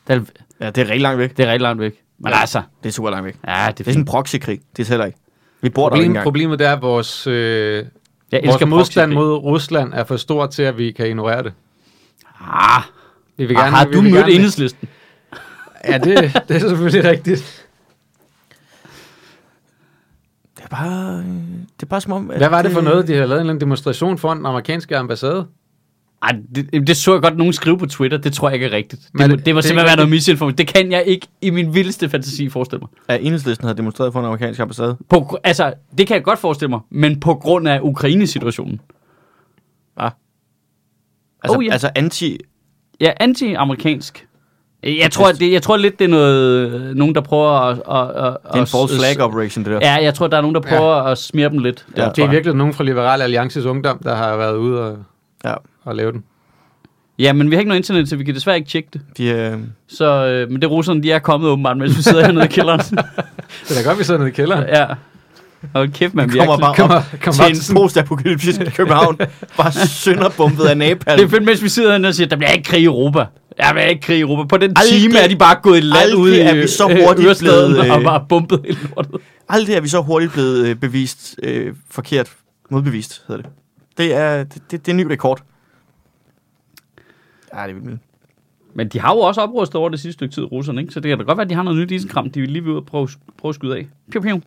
A: Det er,
C: Ja, det er rigtig langt væk.
A: det er rigtig langt væk. Men
C: Ja.
A: altså,
C: Det er super langt væk.
A: ja, det er
C: Det er sådan en
A: fint.
C: proxykrig. Det tæller ikke. Vi bor der jo ikke
B: Problem,
C: engang.
B: problemet det er, at vores, øh,
A: Jeg elsker
B: vores modstand
A: proxykrig.
B: mod Rusland er for stor til, at vi kan ignorere det.
A: Ah,
B: Vi vil
A: ah, har
B: vi
A: du
B: vil
A: mødt
B: gerne-
A: enhedslisten?
B: Ja, det, det er selvfølgelig rigtigt.
C: Det er bare, øh, det er bare som om... at øh,
B: Hvad var det for noget, de havde lavet en eller anden demonstration foran den amerikanske ambassade?
A: Ej, det, det, så jeg godt nogen skrive på Twitter. Det tror jeg ikke er rigtigt. Det,
B: Men
A: må-
B: det-
A: det, må
B: det er
A: simpelthen
B: ikke
A: være noget misinformation. Det kan jeg ikke i min vildeste fantasi forestille mig.
C: At enhedslisten havde demonstreret for en amerikansk ambassade.
A: På, gr- altså, det kan jeg godt forestille mig, men på grund af Ukraine-situationen.
C: Altså,
A: Oh, ja.
C: altså anti...
A: Ja, anti-amerikansk. Jeg tror, at det, jeg tror lidt, det er noget, øh, nogen, der prøver at... at, at
C: Det er en false flag operation, det der.
A: Ja, jeg tror, der er nogen, der
B: Ja.
A: prøver ja. at smirre dem lidt. Der,
C: Ja.
B: Det er
A: tror jeg.
B: virkelig nogen fra Liberal Alliances Ungdom, der har været ude og,
C: Ja.
B: og lave den.
A: ja, men vi har ikke noget internet, så vi kan desværre ikke tjekke det.
C: De, øh,
A: Så, øh, men det er russerne, de er kommet åbenbart, mens vi sidder
C: *laughs*
A: hernede i kælderen.
B: Det er da godt, vi sidder nede i kælderen.
A: ja. Og kæft, man
C: kommer
A: virkelig.
C: bare
B: Kom,
C: op
B: op, kom op,
C: til
A: *laughs*
C: en postapokalyptisk København. bare sønderbumpet af napalm.
A: Det er fedt, mens vi sidder hernede og siger, der bliver ikke krig i Europa. Der bliver ikke krig i Europa. På den
C: Aldrig-
A: time er de bare gået i land
C: aldrig
A: ude i
C: er vi så
A: øh,
C: hurtigt
A: Øresladen
C: blevet, øh,
A: og bare bumpet hele lortet.
C: Aldrig er vi så hurtigt blevet øh, bevist øh, forkert. Modbevist, hedder det. Det er, det, det, det er en ny rekord. Ja, det er vildt. vildt.
A: Men de har jo også oprustet over det sidste stykke tid, russerne, ikke? Så det kan da godt være, at de har noget nyt isenkram, de vil lige ved ud og prøve, prøve at skyde af. Piu, piu.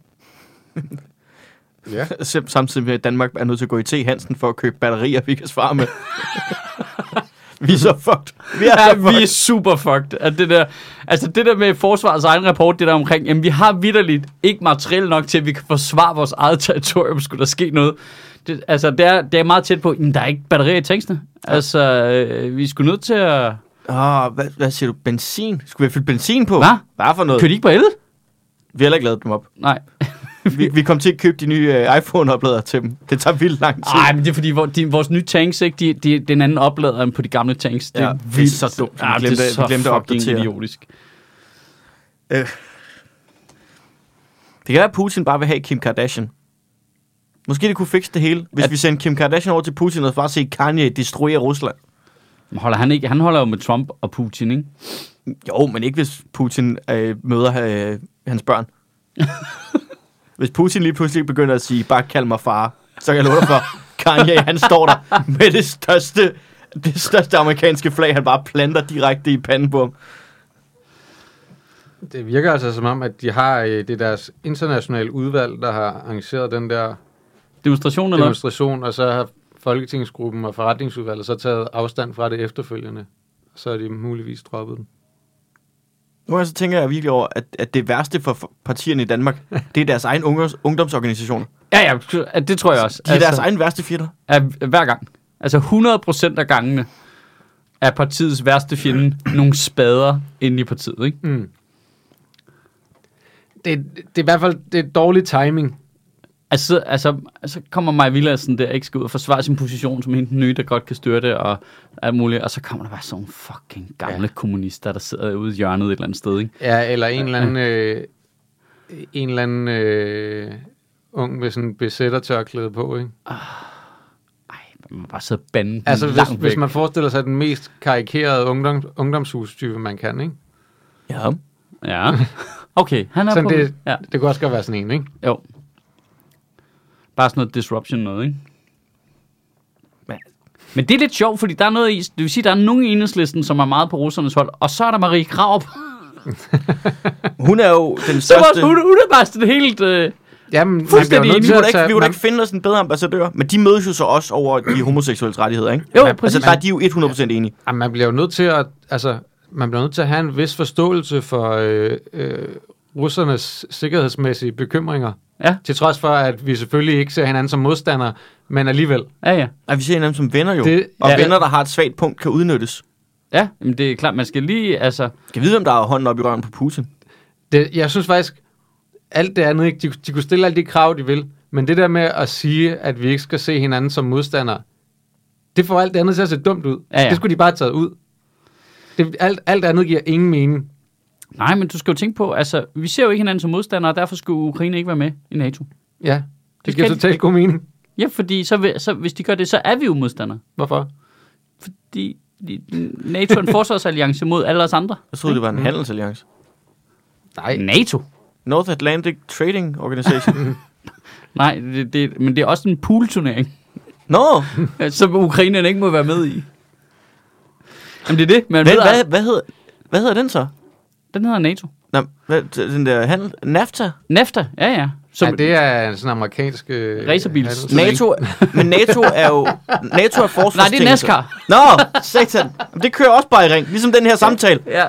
B: Ja.
C: Sam- Samtidig med, at Danmark er nødt til at gå i T. Hansen for at købe batterier, vi kan
A: *laughs*
C: svare med. vi er så fucked. Vi er
A: Ja,
C: så fucked.
A: vi er super fucked. At det der, altså det der med forsvarets egen rapport, det der omkring, jamen vi har vidderligt ikke materiel nok til, at vi kan forsvare vores eget territorium, skulle der ske noget. Det, altså det er, det er meget tæt på, jamen der er ikke batterier i tanksene. Altså øh, vi skulle nødt til at...
C: Åh, Ah, hvad, hvad siger du? Benzin? Skulle vi have fyldt benzin på?
A: Hvad?
C: Hvad for noget?
A: Kører de ikke på el?
C: Vi har heller ikke lavet dem op.
A: Nej.
C: Vi, vi kom til at købe de nye øh, iPhone-oplader til dem. Det tager vildt lang tid.
A: Nej, men det er fordi, vor- de, vores nye tanks, ikke, de, de, den anden oplader end på de gamle tanks. Det
C: Ja,
A: er,
C: det
A: vildt.
C: er så dumt. Vi
A: Ja, det
C: glemte-
A: er
C: vi
A: så
C: glemte at
A: fucking
C: opdatere.
A: idiotisk.
C: Øh. Det kan være, at Putin bare vil have Kim Kardashian. Måske det kunne fikse det hele, hvis
A: At-
C: vi sendte Kim Kardashian over til Putin og bare se Kanye destruere Rusland.
A: Men Holder han, ikke, han holder jo med Trump og Putin, ikke?
C: Jo, men ikke hvis Putin øh, møder øh, hans børn. hvis Putin lige pludselig begynder at sige, bare kald mig far, så kan jeg love dig for, Kanye han står der med det største, det største amerikanske flag, han bare planter direkte i panden på ham.
B: Det virker altså som om, at de har øh, det er deres internationale udvalg, der har arrangeret den der
A: Demonstration eller hvad?
B: demonstration, og så har Folketingsgruppen og forretningsudvalget så taget afstand fra det efterfølgende. Så er de muligvis droppet den.
C: Nu gange så tænker jeg virkelig over, at, at det værste for for partierne i Danmark, det er deres egen ungdoms, ungdomsorganisationer.
A: Ja, ja, at det tror jeg også.
C: De er altså, deres egen værste fjender.
A: er hver gang. Altså 100% af gangene er partiets værste fjende nogle spader inde i partiet, ikke?
B: Mm. Det, det er i hvert fald det er dårlig timing.
A: Altså, altså, altså kommer Maja Villadsen der, ikke skal ud og forsvare sin position som hende den nye, der godt kan styrte og alt muligt. Og så kommer der bare sådan nogle fucking gamle ja. kommunister, der sidder ude i hjørnet et eller andet sted, ikke?
B: Ja, eller en eller anden øh, en eller anden øh, ung med sådan en besættertørklæde på, ikke?
A: Ej, man må bare sidde og bande
B: Altså,
A: den
B: hvis,
A: langt
B: hvis
A: væk.
B: man forestiller sig den mest karikerede ungdom, ungdomshustype, man kan, ikke?
A: Ja. Ja. Okay, han er
B: Sådan
A: på...
B: det,
A: Ja,
B: det kunne også godt være sådan en, ikke?
A: jo. Bare sådan noget disruption noget, ikke?
C: Men-
A: Men det er lidt sjovt, fordi der er noget i... Det vil sige, der er nogen i enhedslisten, som er meget på russernes hold, og så er der Marie Krav.
C: Hun er
A: *laughs*
C: jo den
A: Så var
C: største...
A: hun, hun er bare sådan helt... Øh,
B: Jamen, man bliver
A: Fuldstændig
B: jo nødt
A: enig.
C: Vi
B: til
C: kunne
B: at
C: da ikke,
B: tage-
C: vi kunne da
B: man-
C: ikke finde os en bedre ambassadør, men de mødes jo så også over
A: *clears throat*
C: de homoseksuelle rettigheder, ikke?
A: jo,
B: Ja,
A: præcis.
C: Altså, der er de jo 100% enige.
B: Jamen, ah, man bliver jo nødt til at, altså, man bliver nødt til at have en vis forståelse for øh, øh, russernes sikkerhedsmæssige bekymringer.
A: Ja.
B: Til trods for, at vi selvfølgelig ikke ser hinanden som modstandere, men alligevel.
A: Ja, ja.
C: At vi ser hinanden som venner jo,
B: Det-
C: det, og
B: ja.
C: ja, venner, der har et svagt punkt, kan udnyttes.
A: Ja, men det er klart, man skal lige... Altså,
C: Kan vide, om der er hånden op i røven på Putin?
B: Det, jeg synes faktisk, alt det andet, ikke? De, de kunne stille alle de krav, de vil, men det der med at sige, at vi ikke skal se hinanden som modstandere, det får alt det andet til at se dumt ud.
A: Ja, ja.
B: Det skulle de bare have taget ud. Det, alt, alt andet giver ingen mening.
A: nej, men du skal jo tænke på, altså, vi ser jo ikke hinanden som modstandere, og derfor skulle Ukraine ikke være med i NATO.
B: Ja, det
A: skal
B: giver
A: de-
B: totalt god mening.
A: Ja, fordi så, vil- så, hvis de gør det, så er vi jo modstandere.
B: Hvorfor?
A: Fordi de- NATO er en forsvarsalliance mod alle os andre.
C: Jeg troede, det
A: Mm-hmm.
C: var en handelsalliance.
B: Nej,
A: NATO?
C: North Atlantic Trading
A: *laughs*
C: Organization.
A: Nej, det, det, men det er også en poolturnering,
C: Nå,
A: som ukrainerne ikke må være med i. Jamen det er det, man
C: hvad,
A: ved,
C: hvad,
A: hvad?
C: hvad, hedder, hvad hedder den så?
A: den hedder NATO.
C: Nå, hvad, den der handel? NAFTA?
A: NAFTA, ja ja.
B: Som,
A: Som,
B: ja, det er sådan en amerikansk... Øh,
A: Racerbils-
B: handels-
C: NATO, men NATO er jo... NATO er forsvarstingelser.
A: Nej, det er NASCAR.
C: Nå, satan. Jamen, Det kører også bare i ring, ligesom den her samtale.
A: Ja.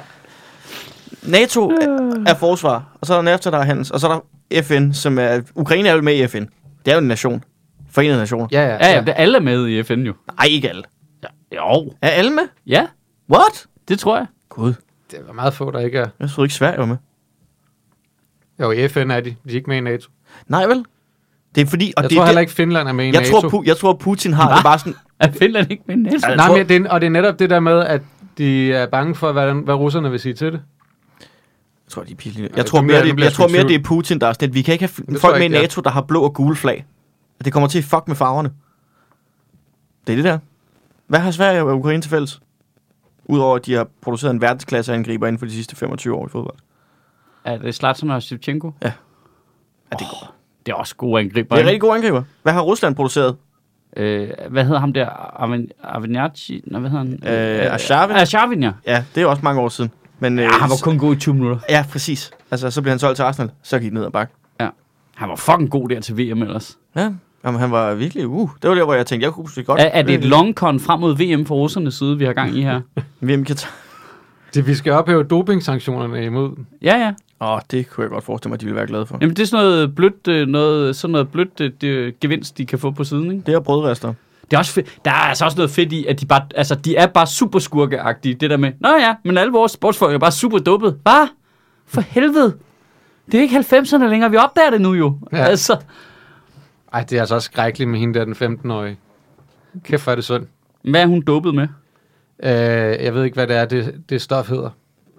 C: NATO er- er forsvar, og så er der NAFTA, der er handels, og så er der FN, som er... Ukraine er jo med i FN. Det er jo en nation. Forenede Nationer.
B: Ja, ja,
A: Ja, ja, det er alle med i FN jo.
C: Nej, ikke alle.
A: Jo.
C: Er alle med?
A: Ja,
C: What?
A: det tror jeg.
C: Gud,
B: Det er meget få, der ikke er...
C: jeg troede ikke Sverige var med.
B: Jo, i FN er de. De er ikke med i NATO.
C: Nej vel? Det er fordi... Og
B: Jeg
C: det,
B: tror
C: det,
B: heller ikke, Finland er med i
C: Jeg
B: NATO.
C: tror, Pu- jeg tror, Putin har det bare sådan...
A: Er Finland ikke med i NATO?
C: Ja,
B: Nej,
C: tror-
B: men det er, og det er netop det der med, at de er bange for, hvad, hvad russerne vil sige til det.
C: Jeg tror, de er pinlige.
B: Ja,
C: Jeg tror
B: det
C: mere,
B: bliver- det
C: det,
B: bliver
C: jeg tror
B: sgu i
C: mere,
B: tvivl.
C: det er Putin, der er sådan lidt, Vi kan ikke have
B: tror
C: f- folk
B: jeg
C: med i
B: ikke, ja.
C: NATO, der har blå og gule flag. Det kommer til at fuck med farverne. Det er det der. Hvad har Sverige og Ukraine til fælles? Udover at de har produceret en verdensklasse angriber inden for de sidste 25 år i fodbold.
A: Er det Zlatan og Shevchenko?
C: Ja, det, er godt.
A: Det er også gode angriber.
C: det er
A: ikke?
C: rigtig gode angriber. Hvad har Rusland produceret?
A: Øh, hvad hedder ham der? Arvin, Arvinacci? Nå, hvad hedder han?
C: Øh, Arshavin.
A: Arshavin, ja.
C: Ja, det er jo også mange år siden. Men, øh,
A: Ja, han var kun god i 20 minutter.
C: ja, præcis. Altså, så blev han solgt til Arsenal. Så gik det ned ad bakke.
A: Han var fucking god der til VM ellers.
C: Ja, Jamen, han var virkelig... Uh, det var der, hvor jeg tænkte, jeg kunne måske godt...
A: Er, er det et long con frem mod VM fra russernes side, vi har gang i her?
C: VM i Katar.
B: Det, vi skal ophæve dopingsanktionerne imod.
A: Ja, ja.
C: Åh, oh, det kunne jeg godt forestille mig, at de ville være glade for.
A: Jamen, det er sådan noget blødt, øh, noget, sådan noget blødt øh, det, gevinst, de kan få på siden, ikke?
C: Det er brødrester.
A: Det er også fedt. Der er altså også noget fedt i, at de, bare, altså, de er bare super skurkeagtige. Det der med, nå ja, men alle vores sportsfolk er bare super duppet. Hvad? For helvede. Det er ikke 90'erne længere, vi opdager det nu jo.
B: Ja.
A: Ja. Altså,
B: Ej, det er altså også skrækkeligt med hende der, den 15-årige. Kæft, hvor er det synd.
A: hvad er hun duppet med?
B: Øh, jeg ved ikke, hvad det er, det, det stof hedder.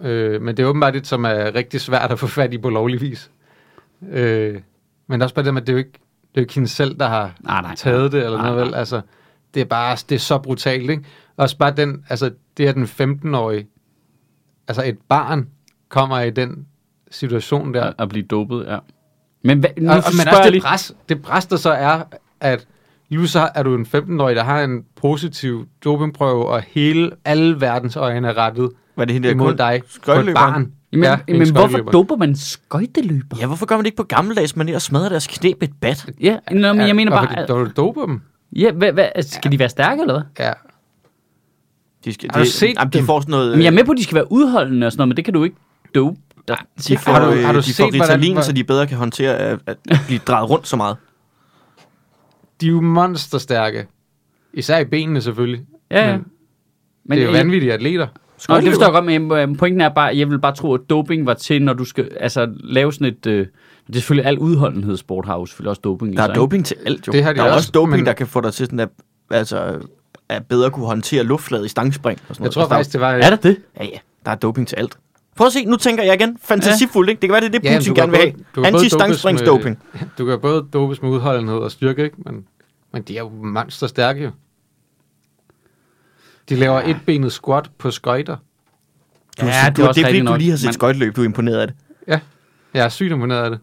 B: Øh, men det er åbenbart et, som er rigtig svært at få fat i på lovlig vis. Øh, men det er også bare det med, at det er jo ikke, det er jo ikke hende selv, der har
A: Nej, nej.
B: taget det, eller
A: Nej,
B: noget
A: nej.
B: vel. Altså, det er bare, det er så brutalt, ikke? Også bare den, altså, det er den 15-årige, altså et barn kommer i den situation der.
A: At, at blive duppet, ja. Men hvad, nu
B: Og, og, men
A: spørger
B: også
A: jeg
B: det
A: lige.
B: pres, det pres, der så er, at nu så er du en 15-årig, der har en positiv dopingprøve, og hele alle verdens øjne er rettet
C: Hvad er det hende der?
B: imod
C: kun-
B: dig på et
C: skøjteløberen?
B: barn.
A: Men, ja,
B: en
A: men hvorfor
B: skøjteløber.
A: doper man skøjteløber?
C: Ja, hvorfor gør man det ikke på gammeldags manier og smadrer deres knæ med et bat?
A: Ja, nå, men jeg mener
B: og
A: bare...
B: fordi- når du doper dem.
A: Ja, hvad, hvad, altså, skal de være stærke, eller hvad?
B: Ja.
C: De skal,
B: Har du set
C: jamen, de
B: dem?
C: får sådan noget... øh,
A: Men jeg er med på, at de skal være udholdende og sådan noget, men det kan du ikke dope. Der,
C: de får, øh,
B: Har du- har du
C: de
B: set,
C: får
B: hvordan-
C: Ritalin,
B: hvor-
C: så de bedre kan håndtere at, at blive drejet rundt så meget.
B: De er jo monsterstærke. Især i benene selvfølgelig.
A: ja, ja.
B: Men, men det er jo
A: jeg-
B: vanvittige atleter.
A: Nå, det forstår
C: Skøjteløber.
A: jeg godt, men øhm, pointen er bare, at jeg vil bare tro, at doping var til, når du skal altså, lave sådan et... Øh, det er selvfølgelig al udholdenhedssport har jo selvfølgelig også doping i
C: Der
A: sig,
C: er
A: ikke?
C: doping til alt, jo.
B: Det har de
C: der er
B: også,
C: også doping,
B: men-
C: der kan få dig til sådan at, altså, at bedre kunne håndtere luftfladet i stangspring. Og sådan
B: Jeg
C: noget.
B: tror
C: Altså,
B: faktisk, det var...
A: Er der det?
C: der, Ja, ja. Der er doping til alt. Prøv at se, nu tænker jeg igen. Fantasifuldt, ikke? Det kan være, det er det, Putin
B: du kan
C: gerne vil have.
B: både- du kan både dopes
C: Anti-stangspringsdoping.
B: med- Du kan både dopes med udholdenhed og styrke, ikke? Men, men de er jo monsterstærke jo. De laver ja. etbenet squat på skøjter.
A: Du-
C: Ja, du,
A: det er
C: det er
A: også
C: fordi,
A: rigtigt
C: du
A: nok,
C: lige har set
A: men-
C: skøjtløb. Du er imponeret af det.
B: Ja, jeg er sygt imponeret af det.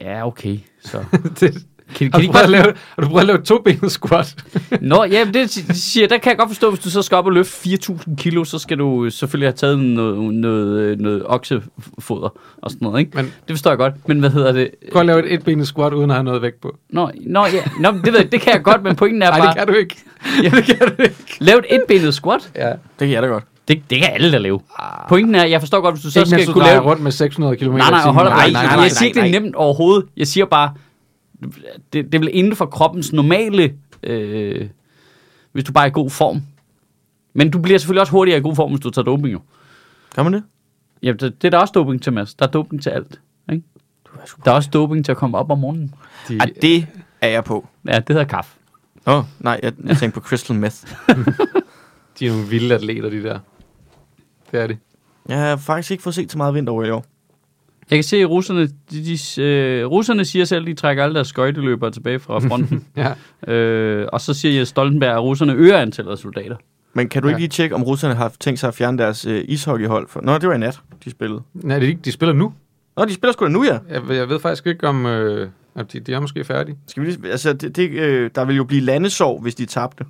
A: Ja, okay.
B: *laughs*
A: Så.
B: det
A: Kan, kan
B: har, du
A: de
B: prøvet
A: bare...
B: at lave, har du prøvet at lave et tobenet squat?
A: Nå, ja, men det si- siger, der kan jeg godt forstå, hvis du så skal op og løfte 4.000 kilo, så skal du øh, selvfølgelig have taget noget, noget, øh, noget oksefoder og sådan noget, ikke?
B: Men-
A: Men... Det forstår jeg godt, men hvad hedder det?
B: Prøv at lave et etbenet squat, uden at have noget vægt på.
A: Nå, nå, ja. nå men det, ved jeg, det kan jeg godt, men pointen er
B: Nej,
A: bare,
B: det kan du ikke. Ja. *laughs* det kan du ikke.
A: lav et etbenet squat.
B: Ja.
C: Det kan jeg da godt.
A: Det, det kan alle, der lave. Pointen er, jeg forstår godt, hvis du så
B: Ikke mens
A: skal
B: du
A: kunne
B: drejer
A: lave...
B: rundt med 600 km
A: Nej, nej, og hold op.
C: Nej,
A: Nej,
C: nej,
A: nej,
C: nej,
A: jeg siger ikke, det
C: nej.
A: er nemt overhovedet. Jeg siger bare, det, det vil inden for kroppens normale, øh, hvis du bare er i god form. Men du bliver selvfølgelig også hurtigere i god form, hvis du tager doping jo.
C: Kan man det?
A: Jamen, det, det er der også doping til, Mads. Der er doping til alt. Ikke? Der er også doping til at komme op om morgenen.
B: De,
C: Ah, det er jeg på.
A: Ja, det hedder kaffe.
C: Åh, oh, nej, jeg, jeg tænkte på Crystal Meth.
B: de er nogle vilde atleter, de der. Det er de.
C: Jeg har faktisk ikke fået set så meget vinter over i år.
A: Jeg kan se, at russerne, de, de, øh, russerne siger selv, at de trækker alle deres skøjteløbere tilbage fra fronten.
B: Ja.
A: øh, og så siger jeg Stoltenberg, at russerne øger antallet af soldater.
C: Men kan du ikke
B: Ja.
C: lige tjekke, om russerne har tænkt sig at fjerne deres øh, ishockeyhold? For... Nå, det var i nat, de spillede.
B: Nej, de, de spiller nu.
C: Nå, de spiller sgu da nu, ja.
B: Jeg, ved- jeg ved faktisk ikke, om øh, om de, de er måske færdige.
C: Skal vi lige... sp- Altså, det, det, øh, der vil jo blive landesorg, hvis de tabte.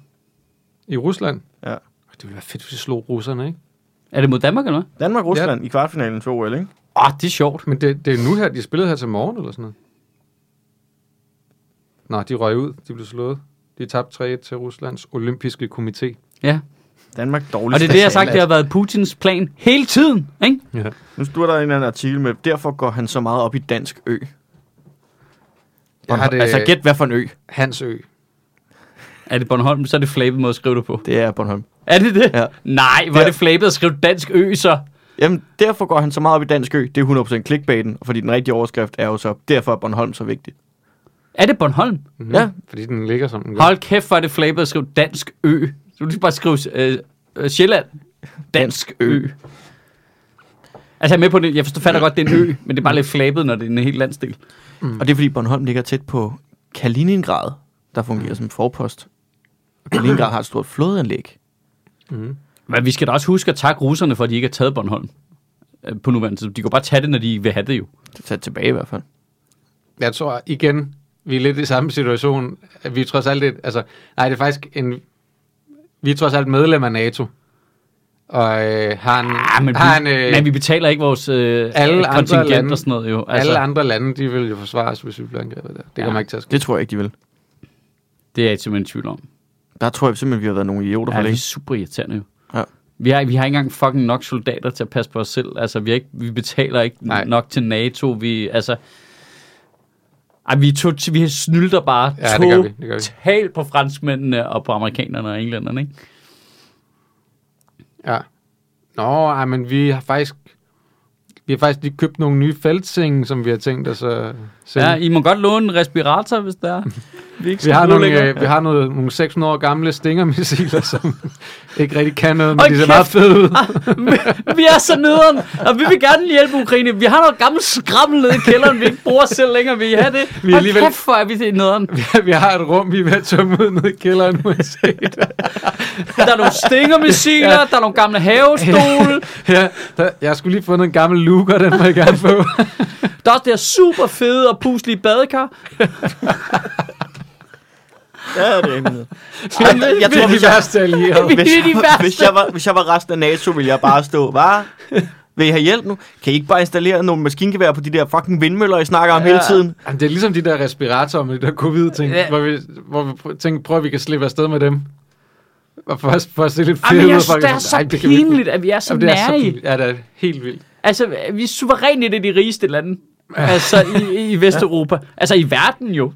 B: I Rusland?
C: Ja.
B: Det ville være fedt, hvis de slog russerne, ikke?
A: Er det mod Danmark eller hvad?
C: Danmark-Rusland ja. i kvartfinalen til OL, ikke?
A: Åh, oh, det er sjovt.
B: Men det, det er nu her, de spillede her til morgen, eller sådan noget. Nej, de røg ud. De blev slået. De tabte 3-1 til Ruslands olympiske komité.
A: Ja.
C: Danmark dårligt.
A: Og det er det, jeg har sagt, det har været Putins plan hele tiden. Ikke?
B: Ja.
C: Nu står der en eller anden artikel med, derfor går han så meget op i dansk ø.
B: Jeg har det,
C: Altså, gæt hvad for en ø.
B: Hansø.
A: Er det Bornholm, så er det flabet måde at skrive det på.
C: Det er Bornholm.
A: Er det det?
C: Ja.
A: Nej, var
C: Ja.
A: det flabet at skrive dansk ø så?
C: Jamen, derfor går han så meget op i dansk ø. Det er 100% clickbaiten, fordi den rigtige overskrift er jo så, derfor er Bornholm så vigtig.
A: Er det Bornholm?
B: Mm.
C: Ja.
B: Fordi den ligger som den gør.
A: Hold kæft, var det flabet at skrive dansk ø. Du lige bare skrive øh, øh, Sjælland. Dansk ø. Altså, jeg er med på det. Jeg forstår fatter godt, det er en ø, men det er bare lidt flabet, når det er en helt landsdel.
C: Mm. Og det er fordi Bornholm ligger tæt på Kaliningrad, der fungerer som forpost. Og Kaliningrad har et stort flådeanlæg.
B: Mm.
A: Men vi skal da også huske at takke russerne for, at de ikke har taget Bornholm øh, på nuværende tidspunkt. De kan jo bare tage det, når de vil have det jo.
C: Det er sat tilbage i hvert fald.
B: Jeg tror igen, vi er lidt i samme situation. Vi er trods alt lidt, altså, nej, det er faktisk en, vi er trods alt medlem af NATO. Og øh, har en,
A: Ja, men,
B: har en,
A: vi, øh, men vi betaler ikke vores øh,
B: alle andre
A: kontingent
B: lande-
A: og sådan noget jo.
B: altså, alle andre lande, de vil jo forsvare os, hvis vi bliver angrebet der. Det
A: Ja.
B: kommer ikke til at ske.
C: Det tror jeg ikke, de vil.
A: Det er jeg simpelthen i tvivl om.
C: Der tror jeg simpelthen, vi har været nogle idioter for
A: Ja, det er
C: længe.
A: super irriterende jo.
C: Ja.
A: Vi har, vi har ikke engang fucking nok soldater til at passe på os selv. Altså, vi, er ikke, vi betaler ikke
B: Nej.
A: Nej. nok til NATO. Vi, altså, ej, vi, to, vi snylder bare
B: Ja, det gør vi, det gør vi.
A: totalt på franskmændene og på amerikanerne og englænderne, ikke?
B: Ja. Nå, ej, men vi har faktisk... Vi har faktisk lige købt nogle nye feltsenge, som vi har tænkt os at sende.
A: Ja, I må godt låne en respirator, hvis der er. Vi, ikke
B: vi
A: skal
B: har,
A: bruge
B: nogle,
A: længere.
B: øh, vi har noget, nogle 600 år gamle stingermissiler, *laughs* som ikke rigtig kan noget, men
A: Hold
B: de ser
A: kæft. Ah!
B: meget fede ud.
A: vi er så nederen, og vi vil gerne hjælpe Ukraine. Vi har noget gammelt skrammel nede i kælderen, vi ikke bruger selv længere. Vi har det.
B: Vi er
A: Hold
B: alligevel-
A: kæft, hvor er vi til nederen.
B: vi har et rum, vi er ved at tømme ud nede i kælderen, må jeg
A: *laughs*
B: se.
A: Der er nogle
B: *laughs*
A: stingermissiler,
B: Ja.
A: ja. der er nogle gamle
B: *laughs*
A: havestole.
B: ja, der, jeg skulle lige have fundet en gammel luker, den må jeg gerne
A: *laughs*
B: få.
A: Der er også det her super fede og puslige badekar.
C: Ja, det er *laughs* emnet. Jeg, jeg
B: Vi er
C: tror,
B: de
C: hvis jeg,
B: værste allierede.
A: Vi er
C: hvis, *laughs*
A: de
C: jeg,
A: værste.
C: hvis, jeg var, hvis jeg var resten af NATO, ville jeg bare stå, var Vil I have hjælp nu? Kan I ikke bare installere nogle maskingevær på de der fucking vindmøller, I snakker om
A: Ja.
C: hele tiden?
B: Jamen, det er ligesom de der respiratorer med de der covid-ting, ja.
A: Ja.
B: hvor vi, hvor vi pr- tænker, prøv at vi kan slippe afsted med dem. Og for, os- for at se lidt
A: Ej,
B: fedt
A: men
B: ud.
A: jeg
B: og folk
A: synes, det er
B: sådan,
A: så
B: "Ej, det kan vi ikke."
A: pinligt, at vi er så
B: Jamen, det er så
A: nære i.
B: pinligt. Ja, det er helt vildt.
A: Altså, vi er suverænt et af de rigeste lande. Altså, i, i Vesteuropa. Altså, i verden jo.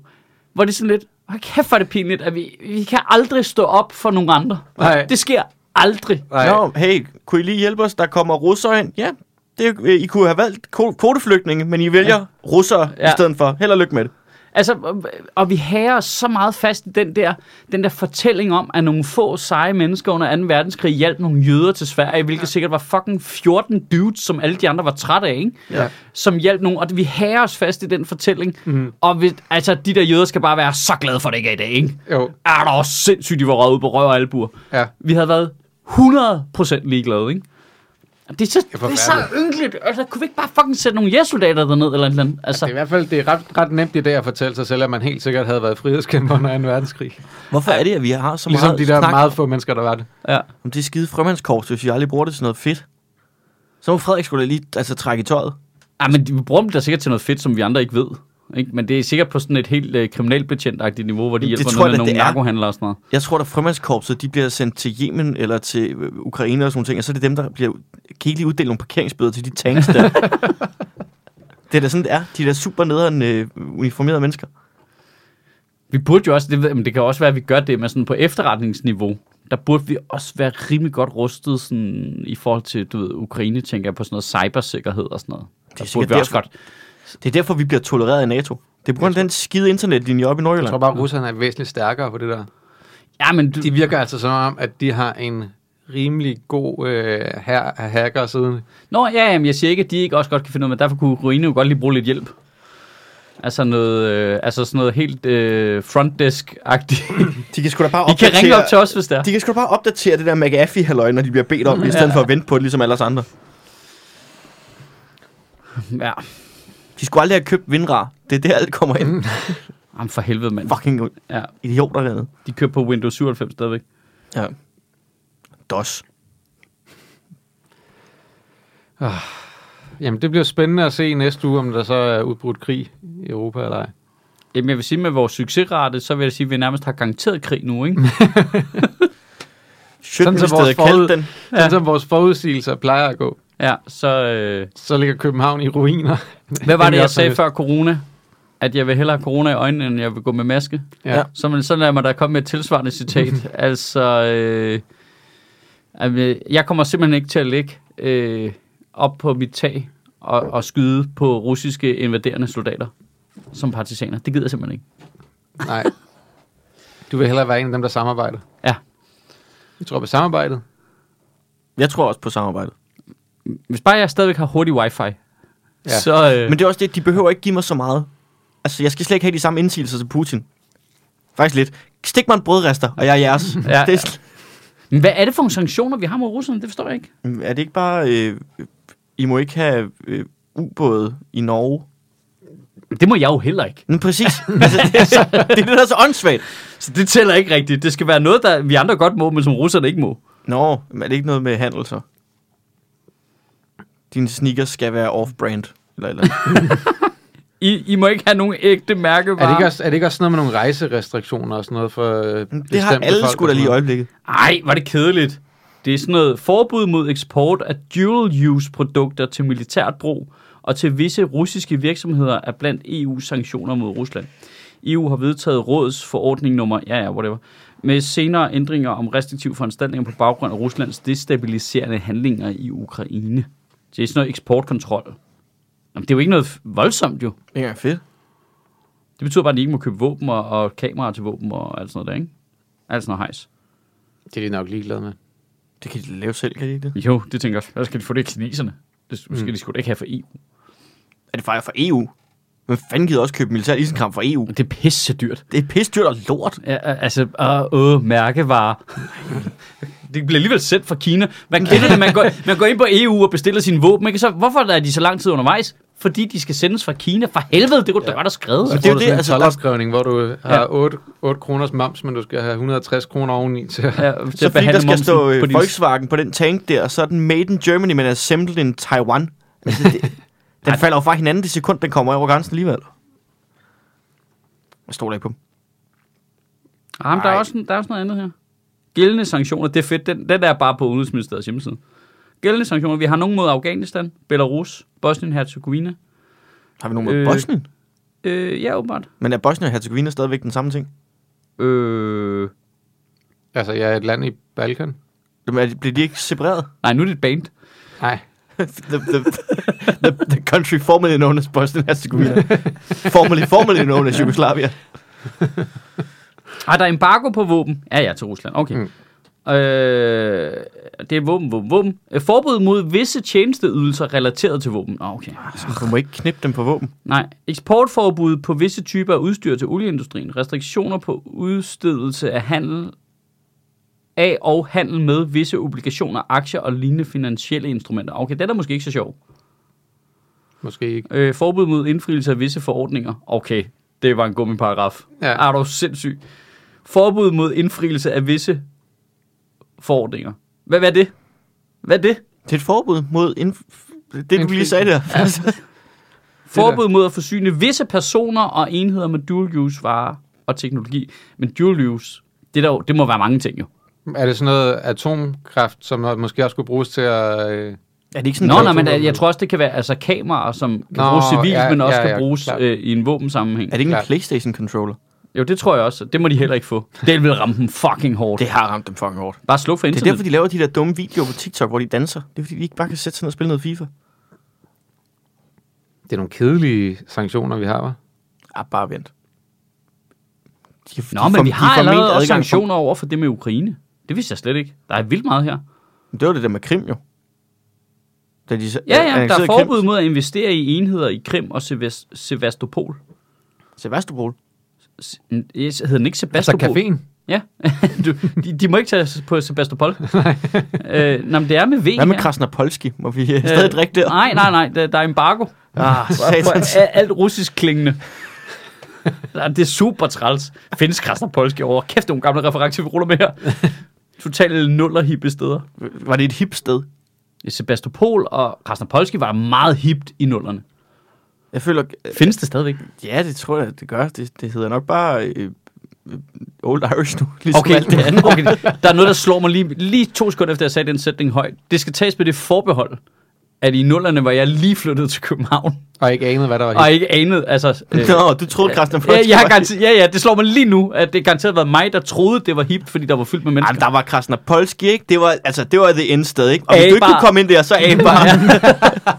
A: Hvor det er sådan lidt, hvor kæft, hvor er det pinligt, at vi, vi kan aldrig stå op for nogen andre.
B: Nej.
A: Det sker aldrig.
B: Nej,
C: Nå, hey, kunne I lige hjælpe os? Der kommer russere ind. Ja, det, er jo- I kunne have valgt ko- kvoteflygtninge, men I vælger ja. russere ja.
A: Ja.
C: i stedet for. Held og lykke med det.
A: Altså, og- og vi hærer os så meget fast i den der, den der fortælling om, at nogle få seje mennesker under 2. verdenskrig hjalp nogle jøder til Sverige, hvilket sikkert var fucking 14 dudes, som alle de andre var trætte af, ikke?
B: Ja.
A: som hjalp nogen, og vi hærer os fast i den fortælling.
B: Mhm.
A: Mm. Og vi, altså, de der jøder skal bare være så glade for, at det ikke er i dag, ikke?
B: Jo.
A: Er der også sindssygt, de var røget ud på røv og albuer.
B: Ja.
A: Vi havde været 100% ligeglade, ikke? Det er så, det er så ynkeligt. Altså, kunne vi ikke bare fucking sætte nogle jæssoldater derned eller et eller andet? Altså,
B: Det er i hvert fald det er ret, ret nemt i dag at fortælle sig selv, at man helt sikkert havde været frihedskæmper under 2. verdenskrig.
C: Hvorfor er det, at vi har så
B: Ligesom
C: meget
B: de der
C: snak
B: meget få mennesker, der var det.
A: ja.
C: om det skide frømandskors, hvis vi aldrig bruger det til noget fedt? Så må Frederik skulle da lige altså, trække i tøjet.
A: Ej, Ah, men de- vi bruger dem da sikkert til noget fedt, som vi andre ikke ved. Ikke? Men det er sikkert på sådan et helt øh, kriminalbetjentagtigt niveau, hvor de
C: Det
A: hjælper
C: tror
A: noget
C: jeg
A: med
C: da,
A: nogle
C: det er.
A: narkohandlere og sådan noget.
C: Jeg tror, at frømandskorpset de bliver sendt til Yemen eller til øh, Ukraine og sådan nogle ting, og så er det dem, der bliver... Kan I ikke lige uddele nogle parkeringsbøder til de tanks *laughs* der? det er da sådan, det er. De der super nederen øh, uniformerede mennesker.
A: Vi burde jo også, det, ved- men det kan også være, at vi gør det, men sådan på efterretningsniveau, der burde vi også være rimelig godt rustet sådan, i forhold til, du ved, Ukraine, tænker jeg på sådan noget cybersikkerhed og sådan noget. Det der burde
C: sikkert
A: vi også
C: derfor.
A: godt.
C: Det er derfor, vi bliver tolereret i NATO. Det er på grund af den skide internetlinje op i
B: Jeg
C: Nordjylland.
B: tror bare, at russerne er væsentligt stærkere på det der.
A: Ja, men du,
B: De virker altså som om, at de har en rimelig god øh, her, hacker siden.
A: Nå, ja, jamen, jeg siger ikke, at de ikke også godt kan finde ud af, men derfor kunne Ukraine jo godt lige bruge lidt hjælp. Altså, noget, øh, altså sådan noget helt øh, frontdesk-agtigt.
C: De kan sgu da bare
A: I kan ringe op til os, hvis der.
C: De kan sgu da bare opdatere det der McAfee-halløj, når de bliver bedt om, det, i stedet for at vente på det, ligesom alle os andre.
A: Ja,
C: De skulle aldrig have købt Winrar. Det er der, alt kommer ind. Mm.
A: jamen for helvede, mand.
C: Fucking
A: Ja,
C: idioter dernede.
A: de kører på Windows 97 stadigvæk.
C: Ja. DOS.
B: Jamen, det bliver spændende at se næste uge, om der så er udbrudt krig i Europa eller ej.
A: Jamen, jeg vil sige, med vores succesrate, så vil jeg sige, at vi nærmest har garanteret krig nu, ikke?
C: Sådan
B: som
C: så
B: vores
C: vores
B: forud-
C: kaldt den.
B: Ja. Sådan som vores forudsigelser plejer at gå,
A: Ja, så... Øh,
B: så ligger København i ruiner.
A: hvad var
B: End vi
A: det, jeg
B: også havde
A: sagde
B: lyst.
A: før corona? At jeg vil hellere have corona i øjnene, end jeg vil gå med maske.
B: Ja.
A: Så, men, så lad mig da komme med et tilsvarende citat. altså, øh, jamen, øh, jeg kommer simpelthen ikke til at ligge øh, op på mit tag og, og skyde på russiske invaderende soldater som partisaner. Det gider jeg simpelthen ikke.
B: Nej. Du vil hellere være en af dem, der samarbejder.
A: Ja.
B: Jeg tror på samarbejdet.
C: Jeg tror også på samarbejdet.
A: Hvis bare jeg stadigvæk har hurtig wifi, ja.
B: Ja.
A: så... Øh,
C: Men det er også det, de behøver ikke give mig så meget. Altså, jeg skal slet ikke have de samme indsigelser til Putin. Faktisk lidt. Stik mig en brødrester, og jeg er *laughs* jeres.
A: Ja,
C: det er, sl-
A: men hvad er det for nogle sanktioner, vi har mod russerne? Det forstår jeg ikke.
C: er det ikke bare... Øh, I må ikke have øh, ubåde i Norge?
A: Det må jeg jo heller ikke.
C: Men *laughs* præcis. altså, det, er så, det er det, der er så åndssvagt.
A: Så det tæller ikke rigtigt. Det skal være noget, der vi andre godt må, men som russerne ikke må.
C: Nå, men er det ikke noget med handel så? Dine sneakers skal være off-brand. Eller, et eller. andet.
A: I, I må ikke have nogen ægte
B: Er
A: mærkevarer.
B: det, ikke også, er det ikke også noget med nogle rejserestriktioner og sådan noget for øh,
C: Det har
B: bestemte
C: alle
B: folk
C: sgu da
B: og
C: lige
B: sådan
C: i
B: noget?
C: øjeblikket.
A: Ej, var det kedeligt. Det er sådan noget forbud mod eksport af dual-use-produkter til militært brug og til visse russiske virksomheder er blandt EU's sanktioner mod Rusland. EU har vedtaget rådets forordning nummer, ja ja, whatever, med senere ændringer om restriktive foranstaltninger på baggrund af Ruslands destabiliserende handlinger i Ukraine. Det er sådan noget eksportkontrol. Jamen, det er jo ikke noget f- voldsomt jo.
C: Ikke engang fedt.
A: Det betyder bare, at de ikke må købe våben og, og kameraer til våben og alt sådan noget der, ikke? Alt sådan noget hejs.
B: Det er de nok ligeglade med.
C: Det kan de lave selv, kan de ikke det?
A: Jo, det tænker jeg også. Hvad skal de få det af kineserne? Det skal mm. de sgu da ikke have for EU.
C: Er det fejl fra EU? Men fanden gider også købe militær isenkram fra EU?
A: Det er pisse dyrt.
C: Det er pisse dyrt og lort.
A: Ja, øh, altså, åh, øh, mærkevarer. *laughs* det bliver alligevel sendt fra Kina. Man kender det, man går, man går ind på EU og bestiller sine våben. Ikke? Så, hvorfor er de så lang tid undervejs? Fordi de skal sendes fra Kina. For helvede, det kunne ja. da godt have skrevet.
B: Så
C: det er
B: får
C: jo
B: du
C: det,
B: sådan en
C: altså, der-
B: toldopskrivning, hvor du har 8, 8 kroners moms, men du skal have 160 kroner oveni til at
A: Ja, til
C: Så
A: at
C: fordi
A: behandle
C: der skal
A: momsen
C: stå øh,
A: på din-
C: Volkswagen på den tank der, så er den made in Germany, men assembled in Taiwan. Altså, *laughs* det, den falder jo fra hinanden det sekund, den kommer over grænsen alligevel. Jeg stoler ikke på dem.
A: Ah, men der, er
C: Nej.
A: også, der er også noget andet her. Gældende sanktioner, det er fedt. Den, den er bare på Udenrigsministeriets hjemmeside. Gældende sanktioner, vi har nogen mod Afghanistan, Belarus, Bosnien-Herzegovina.
C: Har vi nogen med
A: Øh.
C: øh. Bosnien?
A: Øh, ja, åbenbart.
C: Men er Bosnien og Herzegovina stadigvæk den samme ting?
A: Øh,
B: Altså, jeg er et land i Balkan.
C: Jamen, er de- Bliver de ikke separeret?
A: nej, nu er det et band.
B: Nej.
C: the, the, the, the country formerly known as *laughs* Bosnien-Herzegovina. formerly, formerly known as Yugoslavia.
A: Har Ah, der er embargo på våben? Ja, ja, til Rusland. Okay. Mm. Øh, det er våben, våben, våben. Øh, Forbud mod visse tjenesteydelser relateret til våben. Ah, okay.
C: Du må ikke knippe dem på våben.
A: Nej. Eksportforbud på visse typer af udstyr til olieindustrien. Restriktioner på udstedelse af handel af og handel med visse obligationer, aktier og lignende finansielle instrumenter. Okay, det er da måske ikke så sjovt.
B: Måske ikke.
A: Øh, forbud mod indfrielse af visse forordninger. Okay, det var en gummiparagraf.
B: Ja.
A: Er du sindssyg? Forbud mod indfrielse af visse forordninger. Hvad, hvad er det? Hvad er det?
C: Det er et forbud mod... Inf- det, du lige sagde der.
A: Forbud mod at forsyne visse personer og enheder med dual-use varer og teknologi. Men dual-use, det, er der, jo- det må være mange ting jo.
B: Er det sådan noget atomkraft, som måske også skulle bruges til at... Øh,
C: Er det ikke sådan
A: Nå,
C: en
A: nej, men
C: klausul?
A: jeg tror også, det kan være altså, kameraer, som kan
B: Nå,
A: bruges civilt,
B: ja,
A: men også
B: ja,
A: kan
B: ja,
A: bruges
B: klart.
A: øh, i en våbensammenhæng.
C: Er det ikke en
B: Klart.
C: PlayStation-controller?
A: Jo, det tror jeg også. Det må de heller ikke få. Det vil ramme dem fucking hårdt.
C: Det har ramt dem fucking hårdt.
A: Bare sluk for
C: Det er
A: internet.
C: derfor, de laver de der dumme videoer på TikTok, hvor de danser. Det er fordi, de ikke bare kan sætte sig ned og spille noget FIFA.
B: det er nogle kedelige sanktioner, vi har, hva'?
C: Ah, bare vent. De, de
A: Nå,
C: er
A: men
C: for-
A: vi
C: de er
A: har
C: forment
A: allerede også
C: adgang for-
A: sanktioner over for det med Ukraine. Det vidste jeg slet ikke. Der er vildt meget her.
C: Men Det var det der med Krim jo. Da de så-
A: Ja, ja, der er
C: annekterede
A: forbud
C: Krim.
A: mod at investere i enheder i Krim og Sevas- Sevastopol.
C: Sevastopol.
A: S- n- yes, hedder den ikke
B: Altså
A: Sebastopol?
B: caféen?
A: Ja, *laughs* du, de, de, må ikke tage på
C: *laughs*
A: Sebastopol. øh, nå, men det er med V
C: Hvad med
A: her.
C: Krasnopolski? Må vi øh, stadig drikke der?
A: Nej, nej, nej, der, der er embargo.
C: Ah, satans.
A: For a- alt russisk klingende. Nej, Det er super træls. Findes Krasnopolski over. Kæft, det er nogle gamle referencer, vi ruller med her. Totalt nuller hippe steder.
C: Var det et hip sted?
A: Sebastopol og Krasnopolski var meget hipt i nullerne.
C: Jeg føler... øh,
A: Findes det stadigvæk?
C: Ja, det tror jeg, det gør. Det, det hedder nok bare øh, øh, Old Irish nu, ligesom okay. alt det andet.
A: okay, der er noget, der slår mig lige, lige to sekunder efter, jeg sagde den sætning højt. Det skal tages med det forbehold, at i nullerne var jeg lige flyttet til København,
B: Og ikke anede, hvad der var
A: og ikke anede,
C: *laughs*
A: altså... *laughs* øh,
C: Nå, du troede Krasnopolski
A: Ja, jeg har
C: var...
A: garanteret, ja, ja, det slår mig lige nu, at det garanteret været mig, der troede, det var hipt, fordi der var fyldt med mennesker.
C: Jamen, der var Krasnopolski, ikke? Det var, altså, det var det endste sted, ikke? Og hvis
A: A-bar.
C: du ikke kunne komme ind der, så A
A: *laughs*
C: bare.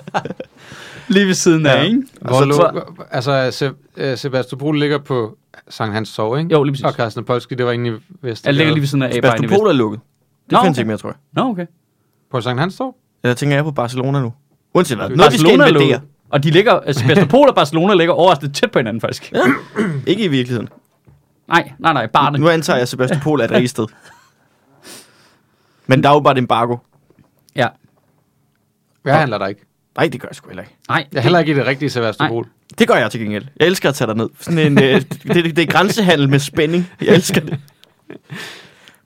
A: Lige ved siden af,
C: Ja.
A: ikke?
B: Hvor
A: Så- så-
B: lå, altså, Se, øh, Sebastopol ligger på Sankt Hans Torv, ikke?
A: Jo, lige præcis.
B: Og Carsten Polski, det var egentlig vest.
A: Jeg ligger lige ved siden af A-bejen i Vest.
C: Sebastopol er lukket. Det
A: Nå,
C: findes
A: okay.
C: ikke mere, tror jeg.
A: Nå, okay.
B: På Sankt Hans Torv?
C: Eller tænker jeg på Barcelona nu? Uanset hvad. Noget, de skal
A: Barcelona lå,
C: invadere.
A: og de ligger, altså Sebastopol og Barcelona ligger overraskende tæt på hinanden, faktisk.
C: Ikke i virkeligheden.
A: Nej, nej, nej, barnet.
C: Nu antager jeg, at Sebastopol er
A: *laughs*
C: et rigtigt sted. Men der er jo bare et embargo.
A: Ja,
B: Jeg handler der ikke.
C: Nej, det gør jeg sgu heller ikke.
A: nej.
B: Jeg handler ikke i det rigtige Sebastopol.
C: Det gør jeg til gengæld. Jeg elsker at tage dig ned. Sådan en, øh, det, det, det er grænsehandel med spænding. Jeg elsker det.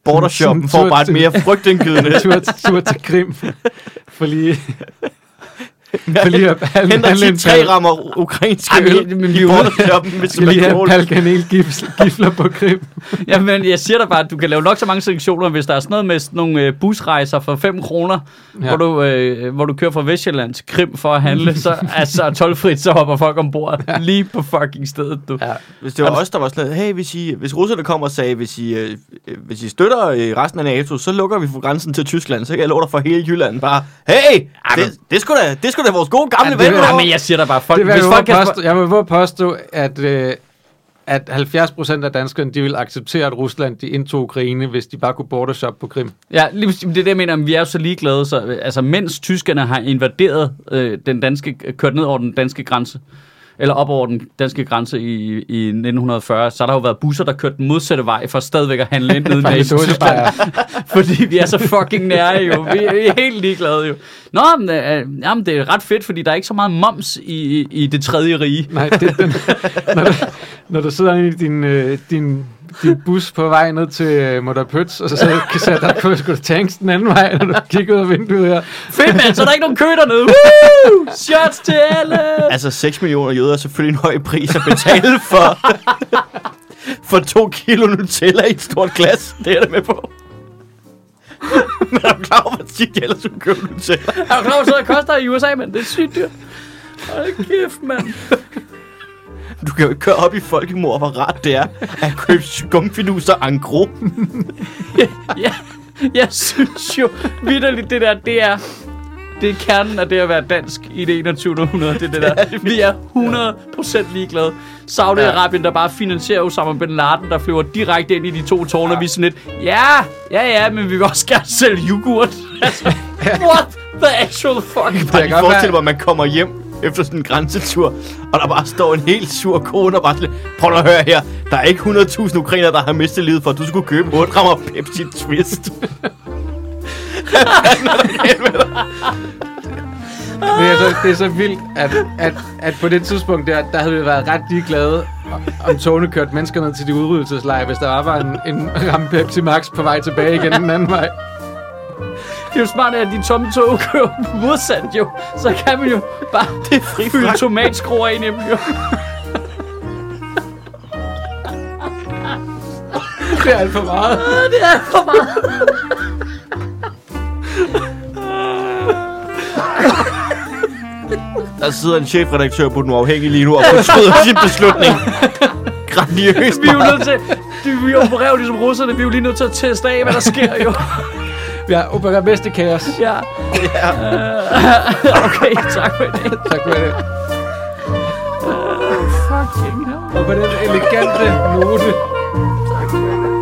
C: Bordershoppen får bare et mere frygtindgydende.
A: *laughs*
B: tur, tur til Krim. *laughs* For lige... for lige at handle- *laughs*
C: Henter
B: handle en
C: 10 tre rammer ukrainske
A: Ej, men-
C: øl
A: men vi
C: i
A: er ude-
C: bordershoppen med
B: Skal lige have en
C: Sebastopol.
B: palkanel gifler på Krim.
A: *laughs* Jamen, jeg siger dig bare, at du kan lave nok så mange sanktioner, hvis der er sådan noget med sådan nogle øh, busrejser for 5 kroner, ja.
B: Ja.
A: hvor, du, øh, hvor du kører fra Vestjylland til Krim for at handle, så altså tolvfrit, så hopper folk ombord ja. lige på fucking stedet, du. Ja.
C: Hvis det var os, der var sådan noget, hey, hvis, I, hvis russerne kommer og sagde, hvis I, øh, øh, hvis I støtter øh, resten af NATO, så lukker vi for grænsen til Tyskland, så kan jeg love dig for hele Jylland bare, hey,
A: men-
C: det, det, skulle da, det skulle da vores gode gamle
B: Ja,
C: ven.
B: det vil-
A: Ja,
C: derovre."
A: men jeg siger dig bare, folk,
B: Det vil
A: hvis
B: jeg,
A: folk
B: våge
A: kan...
B: påstå, jeg vil våge at påstå, at, øh, at 70% af danskerne, de vil acceptere, at Rusland de indtog Ukraine, hvis de bare kunne bordershop på Krim.
A: Ja, lige, præcis. Men det er det, jeg mener, men vi er jo så ligeglade, så, øh, altså mens tyskerne har invaderet øh, den danske, øh, kørt ned over den danske grænse, eller op over den danske grænse i, i 1940, så har der jo været busser, der kørte den modsatte vej for stadigvæk at handle ind nede
B: Bare
A: i
B: lidt
A: Tyskland.
B: dåsebajer.
A: Fordi vi er så fucking nære jo. Vi er, vi er helt ligeglade jo. Nå, men, øh, jamen, det er ret fedt, fordi der er ikke så meget moms i, i, i det tredje rige.
B: *laughs* Nej, det, den, når, du, når du sidder inde i din, øh, din, din bus på vej ned til øh, Moderpøts, og så sidder du sætter dig på sgu tanks den anden vej, når du kigger ud af vinduet her.
A: Fedt, mand, så er der ikke nogen kø dernede. Woo! Shots til alle!
C: Altså, 6 millioner jøder er selvfølgelig en høj pris at betale for, for to kilo Nutella i et stort glas. Det er jeg da med på. Men er du klar over, hvor tit jeg ellers skulle købe Nutella?
A: Er du klar over, hvad det koster i USA, mand? Det er sygt dyrt. Hold kæft, mand.
C: Du kan jo ikke køre op i folkemord, hvor rart det er at købe skumfinuser en gros.
A: Ja, jeg synes jo vidderligt, det der, det er det er kernen af det at være dansk i det 21. århundrede. Det er det der. Vi er 100% ligeglade. Saudi-Arabien, der bare finansierer Osama Bin Laden, der flyver direkte ind i de to tårne, og vi er sådan lidt, ja, ja, ja, men vi vil også gerne sælge *laughs* yoghurt. Altså, what the actual fuck?
B: kan
C: Jeg kan
B: godt
C: forestille
B: være-
C: mig, at man kommer hjem efter sådan en grænsetur, og der bare står en helt sur kone og bare sådan, lidt, prøv at høre her, der er ikke 100.000 ukrainer, der har mistet livet for, at du skulle købe 8 rammer Pepsi Twist.
B: Det er så, det er så vildt, at, at, at på det tidspunkt der, der havde vi været ret ligeglade, om togene kørte mennesker ned til de udryddelseslejre, hvis der var bare en, en ramme Pepsi Max på vej tilbage igen den anden vej.
A: Det er jo smart, at de tomme tog kører modsat jo. Så kan man jo bare det
C: fri
A: fylde
C: fragt.
A: tomatskruer ind i dem jo.
B: Det er alt for meget.
C: Der sidder en chefredaktør på den uafhængige lige nu og fortryder *laughs* sin beslutning. Grandiøst,
A: Vi er jo nødt til, de, vi opererer jo ligesom russerne, vi er jo lige nødt til at teste af, hvad der sker jo.
B: Vi har opera bedste kaos.
A: Ja. Øh, *laughs* okay, tak for det.
B: Tak for det.
A: Fucking hell.
B: Og på den elegante note.
A: Tak for det.